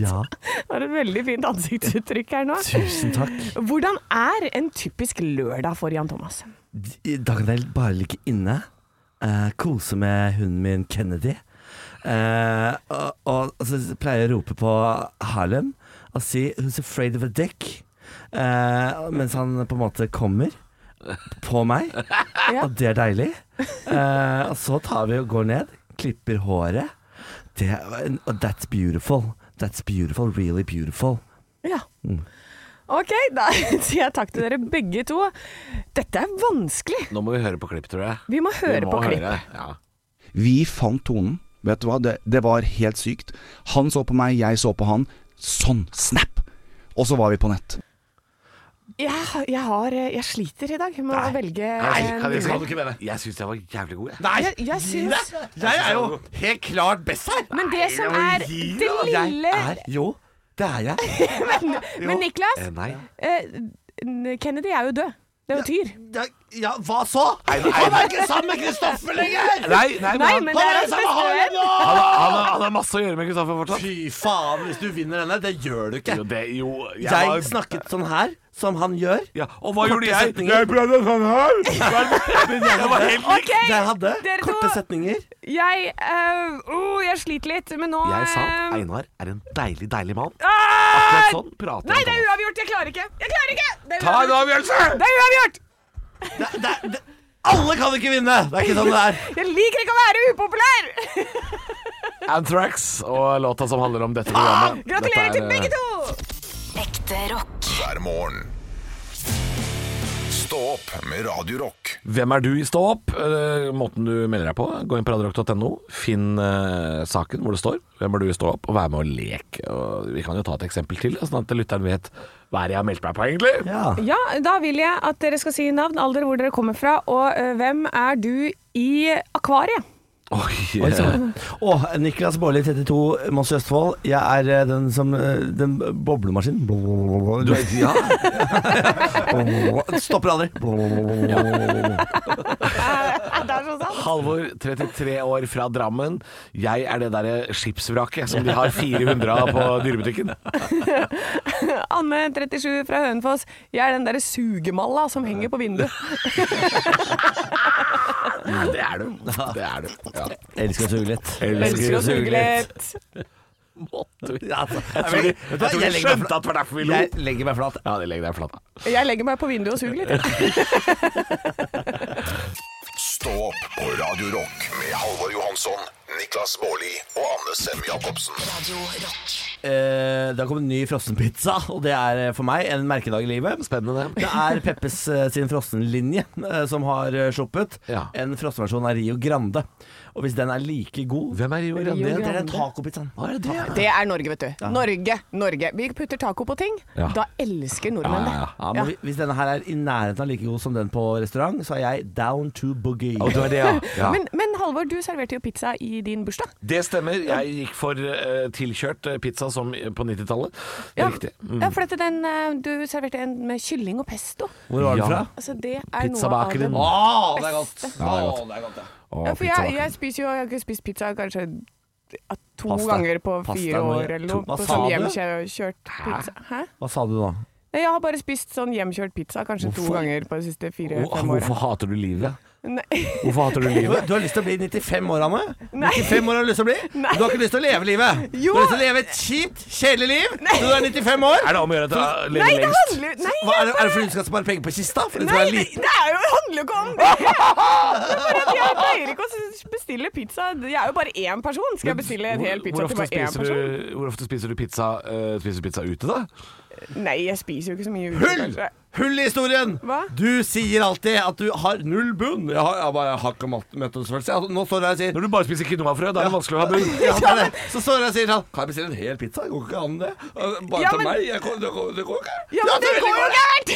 [SPEAKER 5] ja.
[SPEAKER 4] Du har et veldig fint ansiktsuttrykk her nå.
[SPEAKER 5] Tusen takk.
[SPEAKER 4] Hvordan er en typisk lørdag for Jan Thomas?
[SPEAKER 5] I dag kan jeg bare ligge inne, eh, kose med hunden min Kennedy. Eh, og, og, og så pleier jeg å rope på Harlem og si 'Who's afraid of a dick?' Eh, mens han på en måte kommer på meg,
[SPEAKER 4] Ja.
[SPEAKER 5] og det er deilig. Eh, og så tar vi og går ned, klipper håret. Det, er- og that's beautiful. That's beautiful, really beautiful.
[SPEAKER 4] Ja. Ok, da sier jeg takk til dere begge to. Dette er vanskelig.
[SPEAKER 3] Nå må vi høre på klipp, tror jeg.
[SPEAKER 4] Vi må høre
[SPEAKER 3] Vi må
[SPEAKER 4] på klipp.
[SPEAKER 3] høre, Ja.
[SPEAKER 10] Vi fant tonen. Vet du hva, det, det var helt sykt. Han så på meg, jeg så på han. Sånn! Snap! Og så var vi på nett.
[SPEAKER 4] Jeg, jeg, har, eh, jeg sliter i dag med å velge en
[SPEAKER 3] Nei,
[SPEAKER 4] vinner.
[SPEAKER 3] du ikke mene? Jeg syns jeg var jævlig god, jeg.
[SPEAKER 5] Nei!
[SPEAKER 4] Jeg, jeg syns
[SPEAKER 5] Jeg er jo helt klart best her!
[SPEAKER 4] Men det som er det lille
[SPEAKER 5] Jeg er jo Det er jeg.
[SPEAKER 4] Men Niklas,
[SPEAKER 3] Eh, Nei.
[SPEAKER 4] eh, n- Kennedy er jo død. Det er jo tyr.
[SPEAKER 5] Ja, ja hva så? Han er ikke sammen med Kristoffer lenger!
[SPEAKER 3] Nei, nei, men
[SPEAKER 4] Nei,
[SPEAKER 3] han,
[SPEAKER 4] men det er hans
[SPEAKER 5] sammen
[SPEAKER 4] beste
[SPEAKER 5] med Harlem
[SPEAKER 4] venn.
[SPEAKER 5] nå!
[SPEAKER 3] han, har- han, har- han har masse å gjøre med Kristoffer fortsatt.
[SPEAKER 5] Fy faen, hvis du vinner denne, det gjør du ikke.
[SPEAKER 3] Jo, det, jo, jeg,
[SPEAKER 5] Jeg
[SPEAKER 3] var-
[SPEAKER 5] snakket sånn her, som han gjør.
[SPEAKER 3] ja, Og hva gjorde
[SPEAKER 5] Korte
[SPEAKER 3] jeg?
[SPEAKER 5] setninger.
[SPEAKER 3] Jeg prøvde sånn her! Men jeg var helt lik.
[SPEAKER 4] OK!
[SPEAKER 5] Jeg hadde
[SPEAKER 4] dere to.
[SPEAKER 5] korte setninger.
[SPEAKER 4] Jeg eh, oh, Jeg sliter litt, men nå
[SPEAKER 3] Jeg sa at
[SPEAKER 4] eh,
[SPEAKER 3] Einar er en deilig, deilig mann.
[SPEAKER 4] ah!
[SPEAKER 3] Akkurat sånn prater
[SPEAKER 4] Nei,
[SPEAKER 3] han
[SPEAKER 4] det
[SPEAKER 3] om
[SPEAKER 4] er
[SPEAKER 3] oss.
[SPEAKER 4] uavgjort! Jeg klarer ikke! Jeg klarer ikke! Det er
[SPEAKER 3] Ta en
[SPEAKER 4] uavgjort!
[SPEAKER 3] avgjørelse!
[SPEAKER 4] Det er uavgjort!
[SPEAKER 5] Det, det, det, alle kan ikke vinne! Det er ikke sånn det er.
[SPEAKER 4] Jeg liker ikke å være upopulær!
[SPEAKER 3] Anthrax og låta som handler om dette programmet.
[SPEAKER 4] Ah,
[SPEAKER 3] Dette er,
[SPEAKER 4] Gratulerer
[SPEAKER 3] eh,
[SPEAKER 4] til begge to!
[SPEAKER 1] Ekte rock.
[SPEAKER 2] hver morgen. Stå opp med Radio Rock.
[SPEAKER 3] Hvem er du i Stå opp? Eh, måten du melder deg på. Gå inn på radiorock.no, finn eh, saken hvor det står 'Hvem er du i Stå opp?' og vær med og lek. Og vi kan jo ta et eksempel til, da, sånn at lytteren vet hva er det jeg har meldt meg på, egentlig.
[SPEAKER 5] Ja.
[SPEAKER 4] Ja, da vil jeg at dere skal si navn, alder, hvor dere kommer fra, og eh, hvem er du i akvariet?
[SPEAKER 3] Oi,
[SPEAKER 5] Oi
[SPEAKER 3] eh,
[SPEAKER 5] sann. Åh, Niklas Baarli, 32, Moss i Østfold. Jeg er eh, den som eh, Den boblemaskinen. Du er ja. Stopper aldri.
[SPEAKER 4] Det er så sant.
[SPEAKER 3] Halvor, 33 år fra Drammen. Jeg er det derre skipsvraket som de har 400 av på dyrebutikken.
[SPEAKER 4] Anne, 37, fra Hønefoss. Jeg er den derre sugemalla som henger på vinduet.
[SPEAKER 3] Det er du. Det er du. Ja.
[SPEAKER 5] Elsker å suge litt.
[SPEAKER 4] Elsker å suge litt.
[SPEAKER 5] Ja, altså,
[SPEAKER 3] Jeg tror de,
[SPEAKER 5] vet
[SPEAKER 3] jeg
[SPEAKER 5] du hva,
[SPEAKER 3] tror de
[SPEAKER 5] jeg legger meg
[SPEAKER 3] skjønte at det var derfor vi
[SPEAKER 5] flat.
[SPEAKER 3] lo.
[SPEAKER 5] Jeg legger meg flat.
[SPEAKER 3] Ja, det legger deg flat.
[SPEAKER 4] Jeg legger meg på vinduet og suger litt.
[SPEAKER 2] Stå opp på Radio Rock med Halvor Johansson, Niklas Baarli og Anne Sem Jacobsen.
[SPEAKER 1] Radio Rock.
[SPEAKER 5] Eh, det har kommet en ny frossenpizza, og det er eh, for meg en merkedag i livet.
[SPEAKER 3] Spennende, det.
[SPEAKER 5] Det er Peppes eh, sin frossenlinje eh, som har eh, sluppet.
[SPEAKER 3] Ja.
[SPEAKER 5] En frossenversjon av Rio Grande. Og hvis den er like god
[SPEAKER 3] Hvem er Rio Grande?
[SPEAKER 5] Det er
[SPEAKER 4] Grande.
[SPEAKER 5] den tacopizzaen.
[SPEAKER 3] Hva er det? Ja,
[SPEAKER 4] Det er Norge, vet du. Norge, Norge. Vi putter taco på ting.
[SPEAKER 3] Ja.
[SPEAKER 4] Da elsker nordmenn det.
[SPEAKER 3] ja,
[SPEAKER 5] Ja, men
[SPEAKER 4] Ja.
[SPEAKER 5] hvi- Hvis denne her er i nærheten av like god som den på restaurant, så er jeg down to boogie.
[SPEAKER 3] Og du er det, ja. ja.
[SPEAKER 4] Men, men Halvor, du serverte jo pizza i din bursdag.
[SPEAKER 3] Det stemmer. Jeg gikk for eh, tilkjørt eh, pizza som på 90-tallet. Det er Riktig. Mm.
[SPEAKER 4] ja for at den, eh, du serverte en med kylling og pesto.
[SPEAKER 5] Hvor var
[SPEAKER 3] Ja.
[SPEAKER 5] den fra?
[SPEAKER 4] Altså, det er noe av
[SPEAKER 3] Pizzabakeren.
[SPEAKER 4] det
[SPEAKER 5] Å, det er godt. Å, det er godt, ja.
[SPEAKER 3] Å,
[SPEAKER 4] Ja, for jeg,
[SPEAKER 3] pizzabakeren.
[SPEAKER 4] jeg spiser jo Jeg har ikke spist pizza kanskje ja, to
[SPEAKER 5] Pasta.
[SPEAKER 4] ganger på
[SPEAKER 5] Pasta
[SPEAKER 4] fire
[SPEAKER 5] er noe-
[SPEAKER 4] år eller
[SPEAKER 5] to-
[SPEAKER 4] noe.
[SPEAKER 5] hva
[SPEAKER 4] På
[SPEAKER 5] sa
[SPEAKER 4] sånn
[SPEAKER 5] du?
[SPEAKER 4] hjemkjørt pizza. Hæ?
[SPEAKER 5] Hva sa du nå?
[SPEAKER 4] Nei, Jeg har bare spist sånn hjemkjørt pizza kanskje
[SPEAKER 5] Hvorfor?
[SPEAKER 4] to ganger på de siste
[SPEAKER 3] Hvor-
[SPEAKER 4] fire-fem åra.
[SPEAKER 3] Hvorfor hater du livet?
[SPEAKER 4] Nei,
[SPEAKER 3] Hvorfor hater du
[SPEAKER 5] Du,
[SPEAKER 3] livet?
[SPEAKER 5] du har lyst til å bli 95 år, Anne.
[SPEAKER 4] Nei.
[SPEAKER 5] 95 år har du lyst til å bli.
[SPEAKER 4] Nei.
[SPEAKER 5] Du har ikke lyst til å leve livet.
[SPEAKER 4] Jo.
[SPEAKER 5] Du har lyst til å leve et kjipt, kjedelig liv til du er 95 år.
[SPEAKER 3] Er det om å gjøre at jeg
[SPEAKER 4] Nei,
[SPEAKER 3] lever
[SPEAKER 4] det
[SPEAKER 3] lengst?
[SPEAKER 4] handler jo Nei,
[SPEAKER 5] Hva, er, det, er det fordi du skal spare penger på kista? Fordi du
[SPEAKER 4] nei
[SPEAKER 5] skal være
[SPEAKER 4] det,
[SPEAKER 5] liten?
[SPEAKER 4] det er jo, handler jo ikke om det! det er bare at jeg pleier ikke å s- bestille pizza. Jeg er jo bare én person. Skal jeg bestille en hel pizza
[SPEAKER 3] hvor,
[SPEAKER 4] til
[SPEAKER 3] ofte
[SPEAKER 4] bare én
[SPEAKER 3] spiser
[SPEAKER 4] person?
[SPEAKER 3] du, hvor ofte spiser du pizza, eh, spiser du pizza ute, da?
[SPEAKER 4] Nei, jeg spiser jo ikke så mye ute.
[SPEAKER 5] Hull!
[SPEAKER 4] kanskje.
[SPEAKER 5] Hull i historien!
[SPEAKER 4] Hva?
[SPEAKER 5] Du sier alltid at du har null bunn. Jeg har, jeg bare, jeg har ikke mat- møtelsesfølelse. Jeg- Altså, Nå står du her og sier
[SPEAKER 3] Når du bare spiser quinoafrø, da er det vanskelig å ha bunn.
[SPEAKER 5] Ja, det er det. Så står jeg og sier sånn Kan jeg bestille en hel pizza? Går ikke an, det? Bare
[SPEAKER 4] Ja,
[SPEAKER 5] til
[SPEAKER 4] men-
[SPEAKER 5] meg? Jeg, kan- det, går, det går ikke.
[SPEAKER 4] Ja, men det
[SPEAKER 5] selvfølgelig
[SPEAKER 4] går jo
[SPEAKER 5] det.
[SPEAKER 4] gærent!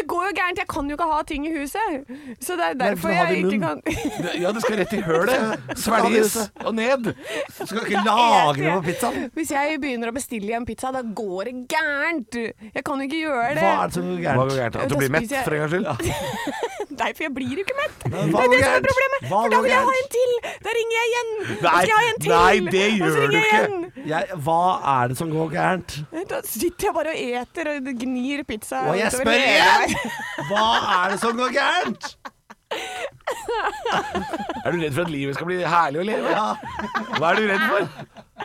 [SPEAKER 4] Det går jo gærent. Jeg kan jo ikke ha ting i huset. Så det er derfor
[SPEAKER 5] du har
[SPEAKER 4] jeg
[SPEAKER 5] det i
[SPEAKER 4] ikke kan
[SPEAKER 5] munnen.
[SPEAKER 3] Ja, det skal rett i hølet. Svelges og ned.
[SPEAKER 5] Du skal ikke lagre på
[SPEAKER 4] jeg-
[SPEAKER 5] pizzaen.
[SPEAKER 4] Hvis jeg begynner å bestille en pizza, da går det gærent. Jeg kan jo ikke gjøre det.
[SPEAKER 5] Hva er det som går
[SPEAKER 3] Hva går
[SPEAKER 5] gærent?
[SPEAKER 3] gærent? At du blir mett, for en gangs skyld?
[SPEAKER 4] Nei, for jeg blir jo ikke mett. Det
[SPEAKER 5] Hva
[SPEAKER 4] er det
[SPEAKER 5] går
[SPEAKER 4] som er
[SPEAKER 5] gærent?
[SPEAKER 4] problemet.
[SPEAKER 5] Hva
[SPEAKER 4] For da
[SPEAKER 5] går
[SPEAKER 4] vil jeg ha
[SPEAKER 5] gærent?
[SPEAKER 4] en til. Da ringer jeg igjen. Da
[SPEAKER 3] Nei,
[SPEAKER 4] skal jeg ha en til.
[SPEAKER 3] nei, det
[SPEAKER 4] Og så
[SPEAKER 3] gjør
[SPEAKER 4] ringer
[SPEAKER 3] du
[SPEAKER 4] jeg
[SPEAKER 3] ikke.
[SPEAKER 4] igjen.
[SPEAKER 5] Jeg, hva er det som går gærent?
[SPEAKER 4] Da sitter jeg bare og eter og gnir pizza.
[SPEAKER 5] Og jeg
[SPEAKER 4] utover
[SPEAKER 5] spør
[SPEAKER 4] hele
[SPEAKER 5] igjen!
[SPEAKER 4] meg.
[SPEAKER 5] Hva er det som går gærent?
[SPEAKER 3] Er du redd for at livet skal bli herlig å leve? Hva er du redd for?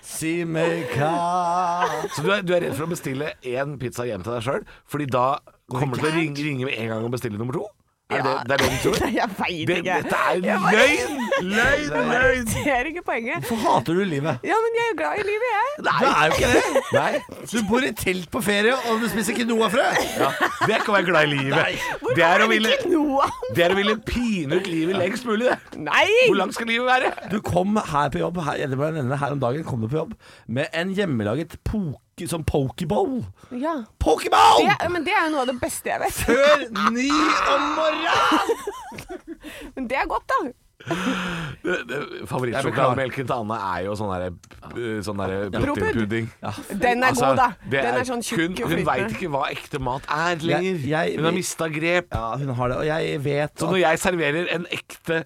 [SPEAKER 5] Si meg hva
[SPEAKER 3] Så du er, du er redd for å bestille én pizza hjem til deg sjøl, fordi da kommer du til å ringe, ringe med en gang og bestille nummer to? Er det, det er det du tror?
[SPEAKER 4] Jeg veit
[SPEAKER 3] Det,
[SPEAKER 4] ikke.
[SPEAKER 3] dette er løgn! Løgn, løgn!
[SPEAKER 4] Det er ikke poenget.
[SPEAKER 5] Hvorfor hater du livet?
[SPEAKER 4] Ja, men jeg er jo glad i livet, jeg.
[SPEAKER 5] Nei. Du er jo ikke det. Du bor i telt på ferie, og du spiser quinoafrø. Ja.
[SPEAKER 3] Det er ikke å være glad i livet. Det er å ville,
[SPEAKER 4] Noah.
[SPEAKER 3] det er å ville pine ut livet lengst mulig, det.
[SPEAKER 4] Nei!
[SPEAKER 3] Hvor langt skal livet være?
[SPEAKER 5] Du kom her på jobb her, eller bare nevne her om dagen kom du på jobb med en hjemmelaget poke, sånn pokeball.
[SPEAKER 4] Ja.
[SPEAKER 5] Pokeball!
[SPEAKER 4] Det, men det er jo noe av det beste jeg vet.
[SPEAKER 5] Før ni om morgenen!
[SPEAKER 4] Men det er godt, da.
[SPEAKER 3] Favorittsjokolademelken til Anne er jo sånn derre sånn der proteinpudding.
[SPEAKER 4] Den er
[SPEAKER 3] Altså,
[SPEAKER 4] god, da.
[SPEAKER 3] det
[SPEAKER 4] Den er sånn
[SPEAKER 3] hun
[SPEAKER 4] tjukk og
[SPEAKER 3] hun veit
[SPEAKER 4] flytende.
[SPEAKER 3] ikke hva ekte mat er lenger.
[SPEAKER 5] jeg-
[SPEAKER 3] hun har mista grep.
[SPEAKER 5] Ja, hun har det, og jeg vet
[SPEAKER 3] Så når jeg serverer en ekte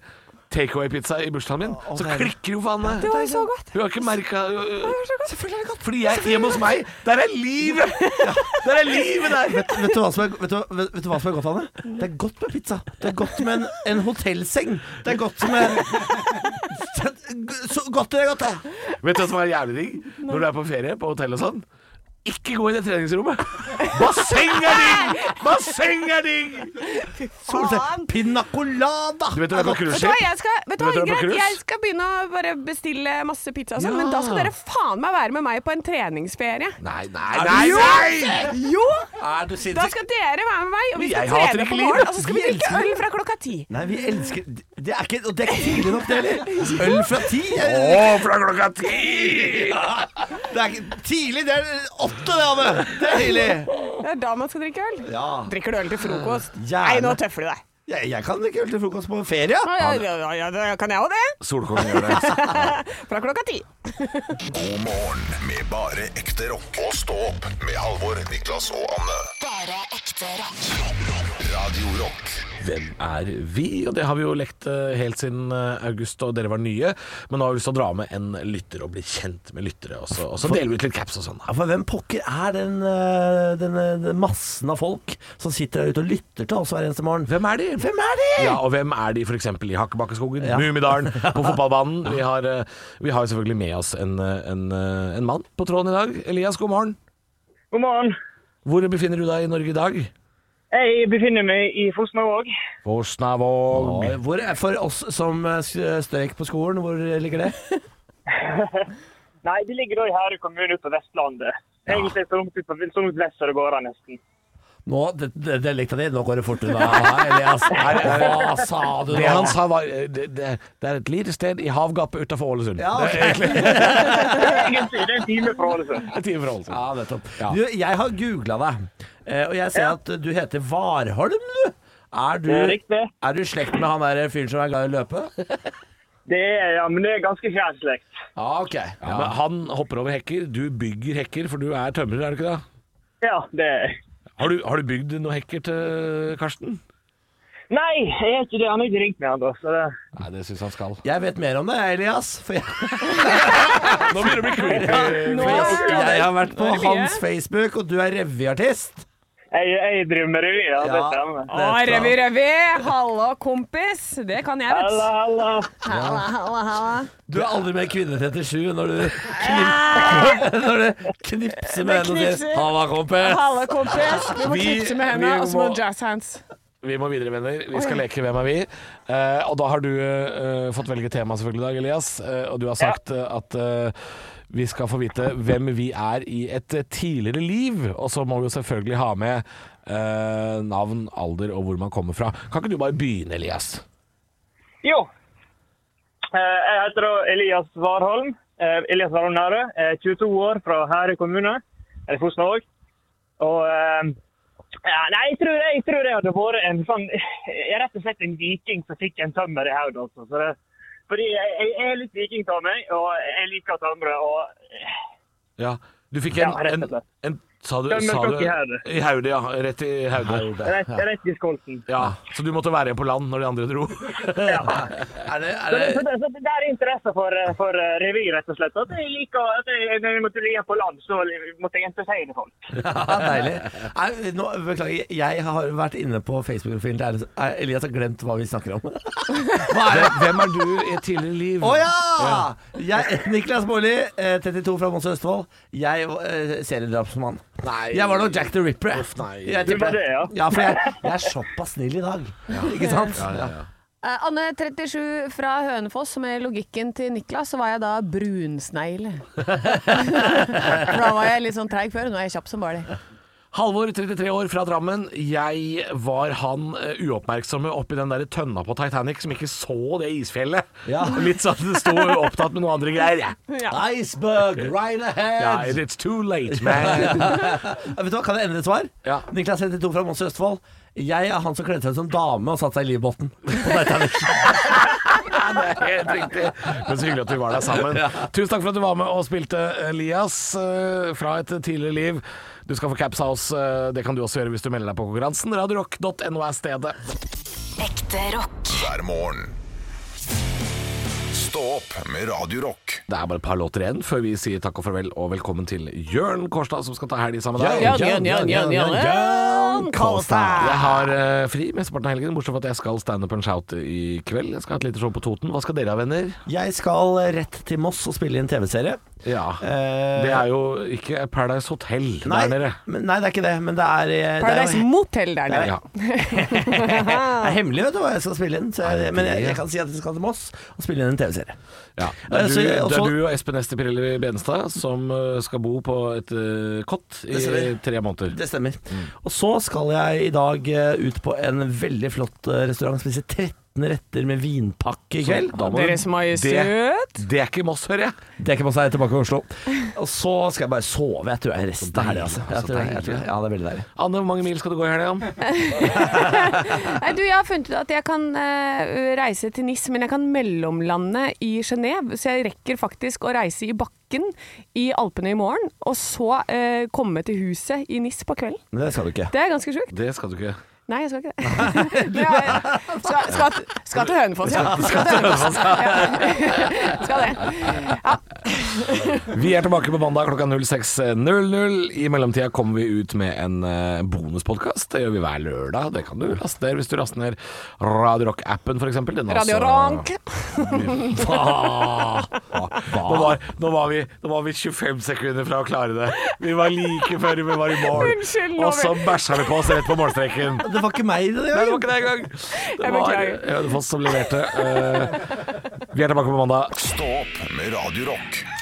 [SPEAKER 3] takeaway-pizza i bursdagen min, så
[SPEAKER 5] deilig.
[SPEAKER 3] klikker jo faen
[SPEAKER 4] Det var jo så godt.
[SPEAKER 3] Hun har ikke merka Fordi jeg, hjemme hos meg, der er livet! Der er livet der!
[SPEAKER 5] Vet, vet, du hva som er, vet, du, vet, vet du hva som er godt, Anne? Det er godt med pizza. Det er godt med en, en hotellseng. Det er godt med Så godt det er godt, det.
[SPEAKER 3] Vet du hva som er jævlig digg? Når du er på ferie, på hotell og sånn. Ikke gå i det treningsrommet! Basseng er digg! Basseng er digg!
[SPEAKER 5] Solseng. Pina colada.
[SPEAKER 3] Du vet du er på
[SPEAKER 4] Vet du hva,
[SPEAKER 3] cruiseskip?
[SPEAKER 4] jeg skal, vet du
[SPEAKER 3] Vet du hva,
[SPEAKER 4] hva,
[SPEAKER 3] på
[SPEAKER 4] greit,
[SPEAKER 3] cruise?
[SPEAKER 4] jeg skal begynne å bare bestille masse pizza og sånn, men da skal dere faen meg være med meg på en treningsferie.
[SPEAKER 3] Nei, nei, nei! nei!
[SPEAKER 4] Jo!
[SPEAKER 5] Er du
[SPEAKER 4] Da
[SPEAKER 5] sinnssyk?
[SPEAKER 4] skal dere være med meg, og vi
[SPEAKER 3] Jeg
[SPEAKER 4] skal
[SPEAKER 3] hater
[SPEAKER 4] trene
[SPEAKER 3] ikke
[SPEAKER 4] på
[SPEAKER 3] livet.
[SPEAKER 4] morgenen, og så skal vi
[SPEAKER 5] Vi
[SPEAKER 4] drikke
[SPEAKER 5] elsker
[SPEAKER 4] øl fra klokka ti.
[SPEAKER 5] Nei, vi elsker Det er ikke, og det er ikke tidlig nok, det heller. Øl fra ti.
[SPEAKER 3] Å,
[SPEAKER 5] eh,
[SPEAKER 3] fra klokka ti!
[SPEAKER 5] Det er ikke, tidlig, det er åtte, det, Anne. Det er tidlig.
[SPEAKER 4] Det er da man skal drikke øl.
[SPEAKER 5] Ja.
[SPEAKER 4] Drikker du øl til frokost?
[SPEAKER 5] Gjerne.
[SPEAKER 4] Nei, nå tøffer du deg.
[SPEAKER 5] Jeg, jeg kan drikke øl til frokost på ferie.
[SPEAKER 4] Ja, ja, ja, ja, ja, det kan jeg òg det.
[SPEAKER 3] Solkongen gjør det.
[SPEAKER 4] Fra klokka ti.
[SPEAKER 2] God morgen med bare ekte rock. Og stå opp med Halvor, Niklas og Anne.
[SPEAKER 1] Bare ekte rock.
[SPEAKER 2] Radio Rock
[SPEAKER 3] Hvem er vi? Og det har vi jo lekt eh, helt siden eh, august og dere var nye. Men nå har vi lyst til å dra med en lytter og bli kjent med lyttere. Og så, og så deler vi ut litt caps og sånn. da.
[SPEAKER 5] Ja, for hvem pokker er den, eh, den, eh, den massen av folk som sitter der ute og lytter til oss hver eneste morgen?
[SPEAKER 3] Hvem er de?
[SPEAKER 5] Hvem er de?
[SPEAKER 3] Ja, Og hvem er de f.eks. i Hakkebakkeskogen,
[SPEAKER 5] Ja.
[SPEAKER 3] Mummidalen, på fotballbanen? Vi har, eh, vi har jo selvfølgelig med oss en, eh, en, eh, en mann på tråden i dag. Elias, god morgen.
[SPEAKER 11] God morgen.
[SPEAKER 3] Hvor befinner du deg i Norge i dag?
[SPEAKER 11] Jeg befinner meg i Fosnavåg.
[SPEAKER 3] Forsnavåg.
[SPEAKER 5] Og Hvor er, for oss som eh, s- strøyk på skolen, hvor ligger det?
[SPEAKER 11] Nei, det ligger da i Herøy kommune ute på Vestlandet. Egentlig så langt ut på så langt vest som det går an, nesten.
[SPEAKER 5] Nå, det, det, det lekta di, nå går det fort unna. Elias, hva sa du
[SPEAKER 3] Det han
[SPEAKER 5] nå?
[SPEAKER 3] sa var eh, det, det, det er et lite sted i havgapet utafor Ålesund.
[SPEAKER 5] Ja,
[SPEAKER 3] Det er egentlig
[SPEAKER 11] Egentlig, det er en time fra Ålesund.
[SPEAKER 3] en time fra Ålesund.
[SPEAKER 5] Ja, nettopp.
[SPEAKER 3] Ja.
[SPEAKER 5] Du, jeg har googla deg, eh, og jeg ser at du heter Warholm, du. Er du,
[SPEAKER 11] Det er riktig.
[SPEAKER 5] er du i slekt med han der fyren som er glad i å løpe?
[SPEAKER 11] Det er, ja, men det er ganske fjern slekt.
[SPEAKER 5] Ja, ok.
[SPEAKER 3] Ja, men han hopper over hekker, du bygger hekker, for du er tømrer, er du ikke det?
[SPEAKER 11] Ja, det er
[SPEAKER 3] Har du, har du bygd noen hekker til Karsten?
[SPEAKER 11] Nei, jeg er ikke det. Han har ikke ringt meg ennå, så det
[SPEAKER 3] Nei, det syns han skal.
[SPEAKER 5] Jeg vet mer om det, Elias. For jeg,
[SPEAKER 3] Nå begynner det å bli creepy.
[SPEAKER 4] Nå
[SPEAKER 5] jeg,
[SPEAKER 4] er det
[SPEAKER 5] har vært på
[SPEAKER 4] Nå er det mye.
[SPEAKER 5] hans Facebook, og du er revyartist.
[SPEAKER 11] Jeg, jeg driver med revy, ja. Det
[SPEAKER 5] Ja.
[SPEAKER 11] stemmer.
[SPEAKER 4] Å, revy, revy. Hallo, kompis. Det kan jeg, vet
[SPEAKER 11] Halla,
[SPEAKER 4] du.
[SPEAKER 11] halla.
[SPEAKER 4] Halla, halla, halla.
[SPEAKER 5] Du er aldri med Kvinne 37 når du, knip, når du knipser med henne og sier
[SPEAKER 4] knipser.
[SPEAKER 5] 'halla, kompis'.
[SPEAKER 4] Halla, kompis. Du må
[SPEAKER 3] Vi-
[SPEAKER 4] knipse med
[SPEAKER 3] vi
[SPEAKER 4] hendene, og så må
[SPEAKER 3] må-
[SPEAKER 4] du jazz hands.
[SPEAKER 3] Vi må videre, venner. Vi skal leke Hvem er vi? Eh, og da har du eh, fått velge tema selvfølgelig i dag, Elias. Eh, og du har sagt eh, at eh, vi skal få vite hvem vi er i et eh, tidligere liv. Og så må vi jo selvfølgelig ha med eh, navn, alder og hvor man kommer fra. Kan ikke du bare begynne, Elias?
[SPEAKER 11] Jo. Eh, Jeg heter da Elias Warholm. Eh, Elias Warholm Nærø. Jeg er 22 år fra Herøy kommune. Eller Fosna òg. Og eh, ja, Nei, jeg tror, jeg tror jeg hadde vært en sånn Jeg er rett og slett en viking som fikk en tømmer i hodet, altså. Så det, fordi jeg, jeg er litt viking av meg, og jeg liker tømmere. Og
[SPEAKER 3] Ja, du fikk en,
[SPEAKER 11] Ja, rett og
[SPEAKER 3] en,
[SPEAKER 11] slett.
[SPEAKER 3] en Sa du,
[SPEAKER 11] Ja, men
[SPEAKER 3] sa du
[SPEAKER 11] klokka i Haude.
[SPEAKER 3] I Haude, ja. Rett i Haude.
[SPEAKER 11] Rett, rett i skolten.
[SPEAKER 3] Ja, Så du måtte være igjen på land når de andre dro?
[SPEAKER 5] Er det,
[SPEAKER 11] Så, det, så, det, så det der er interesse for, eh, for eh, revy, rett og slett. At jeg liker at jeg, når jeg måtte ligge på land, så måtte jeg entertaine folk.
[SPEAKER 5] Ja, deilig. Nei, nå, beklager, jeg har vært inne på Facebook-profilen til Erlend- Er- Elias har glemt hva vi snakker om. Hva er det?
[SPEAKER 3] Hvem er du i et tidligere liv?
[SPEAKER 5] Å ja! Jeg, Niklas Baarli, eh, 32 fra Mons og Østfold. Jeg var eh, seriedrapsmann.
[SPEAKER 3] Nei.
[SPEAKER 5] Jeg var nok Jack the Ripper. jeg.
[SPEAKER 3] Uff, nei.
[SPEAKER 5] Jeg
[SPEAKER 11] Du var
[SPEAKER 5] tipper-
[SPEAKER 11] det, ja.
[SPEAKER 5] Ja, for jeg, jeg er såpass snill i dag. Ikke sant?
[SPEAKER 3] Ja, ja, ja.
[SPEAKER 4] Eh, Anne 37 fra Hønefoss, med logikken til Niklas, så var jeg da brunsnegle. For da var jeg litt sånn treig før, nå er jeg kjapp som bare det.
[SPEAKER 3] Halvor, 33 år, fra Drammen. Jeg var han eh, uoppmerksomme oppi den der tønna på Titanic som ikke så det isfjellet.
[SPEAKER 5] Ja.
[SPEAKER 3] Litt sånn at det sto opptatt med noen andre greier. jeg.
[SPEAKER 5] Iceberg right
[SPEAKER 3] Ja,
[SPEAKER 5] ahead!
[SPEAKER 3] it's too late, man.
[SPEAKER 5] Ja, Vet du hva, Kan jeg endre svar?
[SPEAKER 3] Ja.
[SPEAKER 5] Niklas 32 fra Mons og Østfold. Jeg er han som kledde seg ut som dame og satte seg i livbåten.
[SPEAKER 3] Ja, det er helt riktig. Men så hyggelig at vi var der sammen. Tusen takk for at du var med og spilte Elias eh, fra et tidligere liv. Du skal få caps av oss. eh, Det kan du også gjøre hvis du melder deg på konkurransen. Radiorock.no er stedet.
[SPEAKER 1] Ekte rock.
[SPEAKER 2] hver morgen. Stå opp med Radio Rock.
[SPEAKER 3] Det er bare et par låter igjen før vi sier takk og farvel og velkommen til Jørn Kårstad, som skal ta helg sammen med deg.
[SPEAKER 4] Jørn, Jørn, Jørn, Jørn, Jørn, Jørn Kårstad.
[SPEAKER 3] Jeg har eh, fri mesteparten av helgen, bortsett fra at jeg skal standup and shout i kveld. Jeg skal ha et lite show på Toten. Hva skal dere ha, venner?
[SPEAKER 5] Jeg skal eh, rett til Moss og spille i en TV-serie.
[SPEAKER 3] Ja,
[SPEAKER 5] Eh,
[SPEAKER 3] Det er jo ikke Paradise Hotel
[SPEAKER 5] nei,
[SPEAKER 3] der nede.
[SPEAKER 5] men- nei, det er ikke det. Men det er eh,
[SPEAKER 4] Paradise
[SPEAKER 5] det er,
[SPEAKER 4] Motel der nede.
[SPEAKER 3] Ja.
[SPEAKER 5] jo- det er hemmelig vet du hva jeg skal spille inn. Så jeg, men jeg, jeg kan si at jeg skal til Moss og spille inn en TV-serie.
[SPEAKER 3] Ja. Det,
[SPEAKER 5] Eh,
[SPEAKER 3] er du,
[SPEAKER 5] så jeg-
[SPEAKER 3] det
[SPEAKER 5] også-
[SPEAKER 3] er du og Espen Estepirelli Benstad som eh, skal bo på et eh, kott i
[SPEAKER 5] Det stemmer.
[SPEAKER 3] tre måneder.
[SPEAKER 5] Det stemmer.
[SPEAKER 3] Mm.
[SPEAKER 5] Og så skal jeg i dag eh, ut på en veldig flott eh, restaurant. Spise 13 retter med vinpakke i kveld.
[SPEAKER 3] Da må du-
[SPEAKER 4] Deres Majestet.
[SPEAKER 3] Det, det er ikke Moss, hører jeg.
[SPEAKER 5] Det er ikke masse, jeg er tilbake i Oslo. Og så skal jeg bare sove, jeg tror jeg, resten av helga. Altså.
[SPEAKER 3] Så
[SPEAKER 5] Jeg tror jeg- jeg tror
[SPEAKER 3] deilig.
[SPEAKER 5] jeg- Ja, det er veldig deilig.
[SPEAKER 3] Anne, hvor mange mil skal du gå i helga?
[SPEAKER 4] Nei, du, jeg har funnet ut at jeg kan eh, reise til NIS, men jeg kan mellomlande i Genéve. Så jeg rekker faktisk å reise i bakken i Alpene i morgen, og så eh, komme til huset i NIS på kvelden.
[SPEAKER 5] Men det skal du ikke.
[SPEAKER 4] Det er ganske sjukt.
[SPEAKER 3] Det skal du ikke.
[SPEAKER 4] Nei, jeg skal ikke det. Men jeg, skal, skal, skal til Hønefoss, ja. Skal til Hønefoss. Ja. Skal det. Ja.
[SPEAKER 3] Vi er tilbake på mandag klokka 06.00. I mellomtida kommer vi ut med en eh, bonuspodkast. Det gjør vi hver lørdag. Det kan du laste ned hvis du laster ned Radio Rock-appen, f.eks.
[SPEAKER 4] Radio
[SPEAKER 3] altså-
[SPEAKER 4] Rank.
[SPEAKER 3] Nå var, nå, var vi, nå var vi 25 sekunder fra å klare det. Vi var like før vi var i mål.
[SPEAKER 4] Unnskyld, nå
[SPEAKER 3] Og så bæsja vi på oss rett på målstreken.
[SPEAKER 5] Det var ikke meg det, det
[SPEAKER 3] Nei, det
[SPEAKER 5] var
[SPEAKER 3] var ikke det engang. Det
[SPEAKER 4] Jeg
[SPEAKER 3] var
[SPEAKER 4] beklager.
[SPEAKER 3] Hønefoss som leverte. Eh, vi er tilbake på mandag.
[SPEAKER 2] Stå opp med Radio Rock.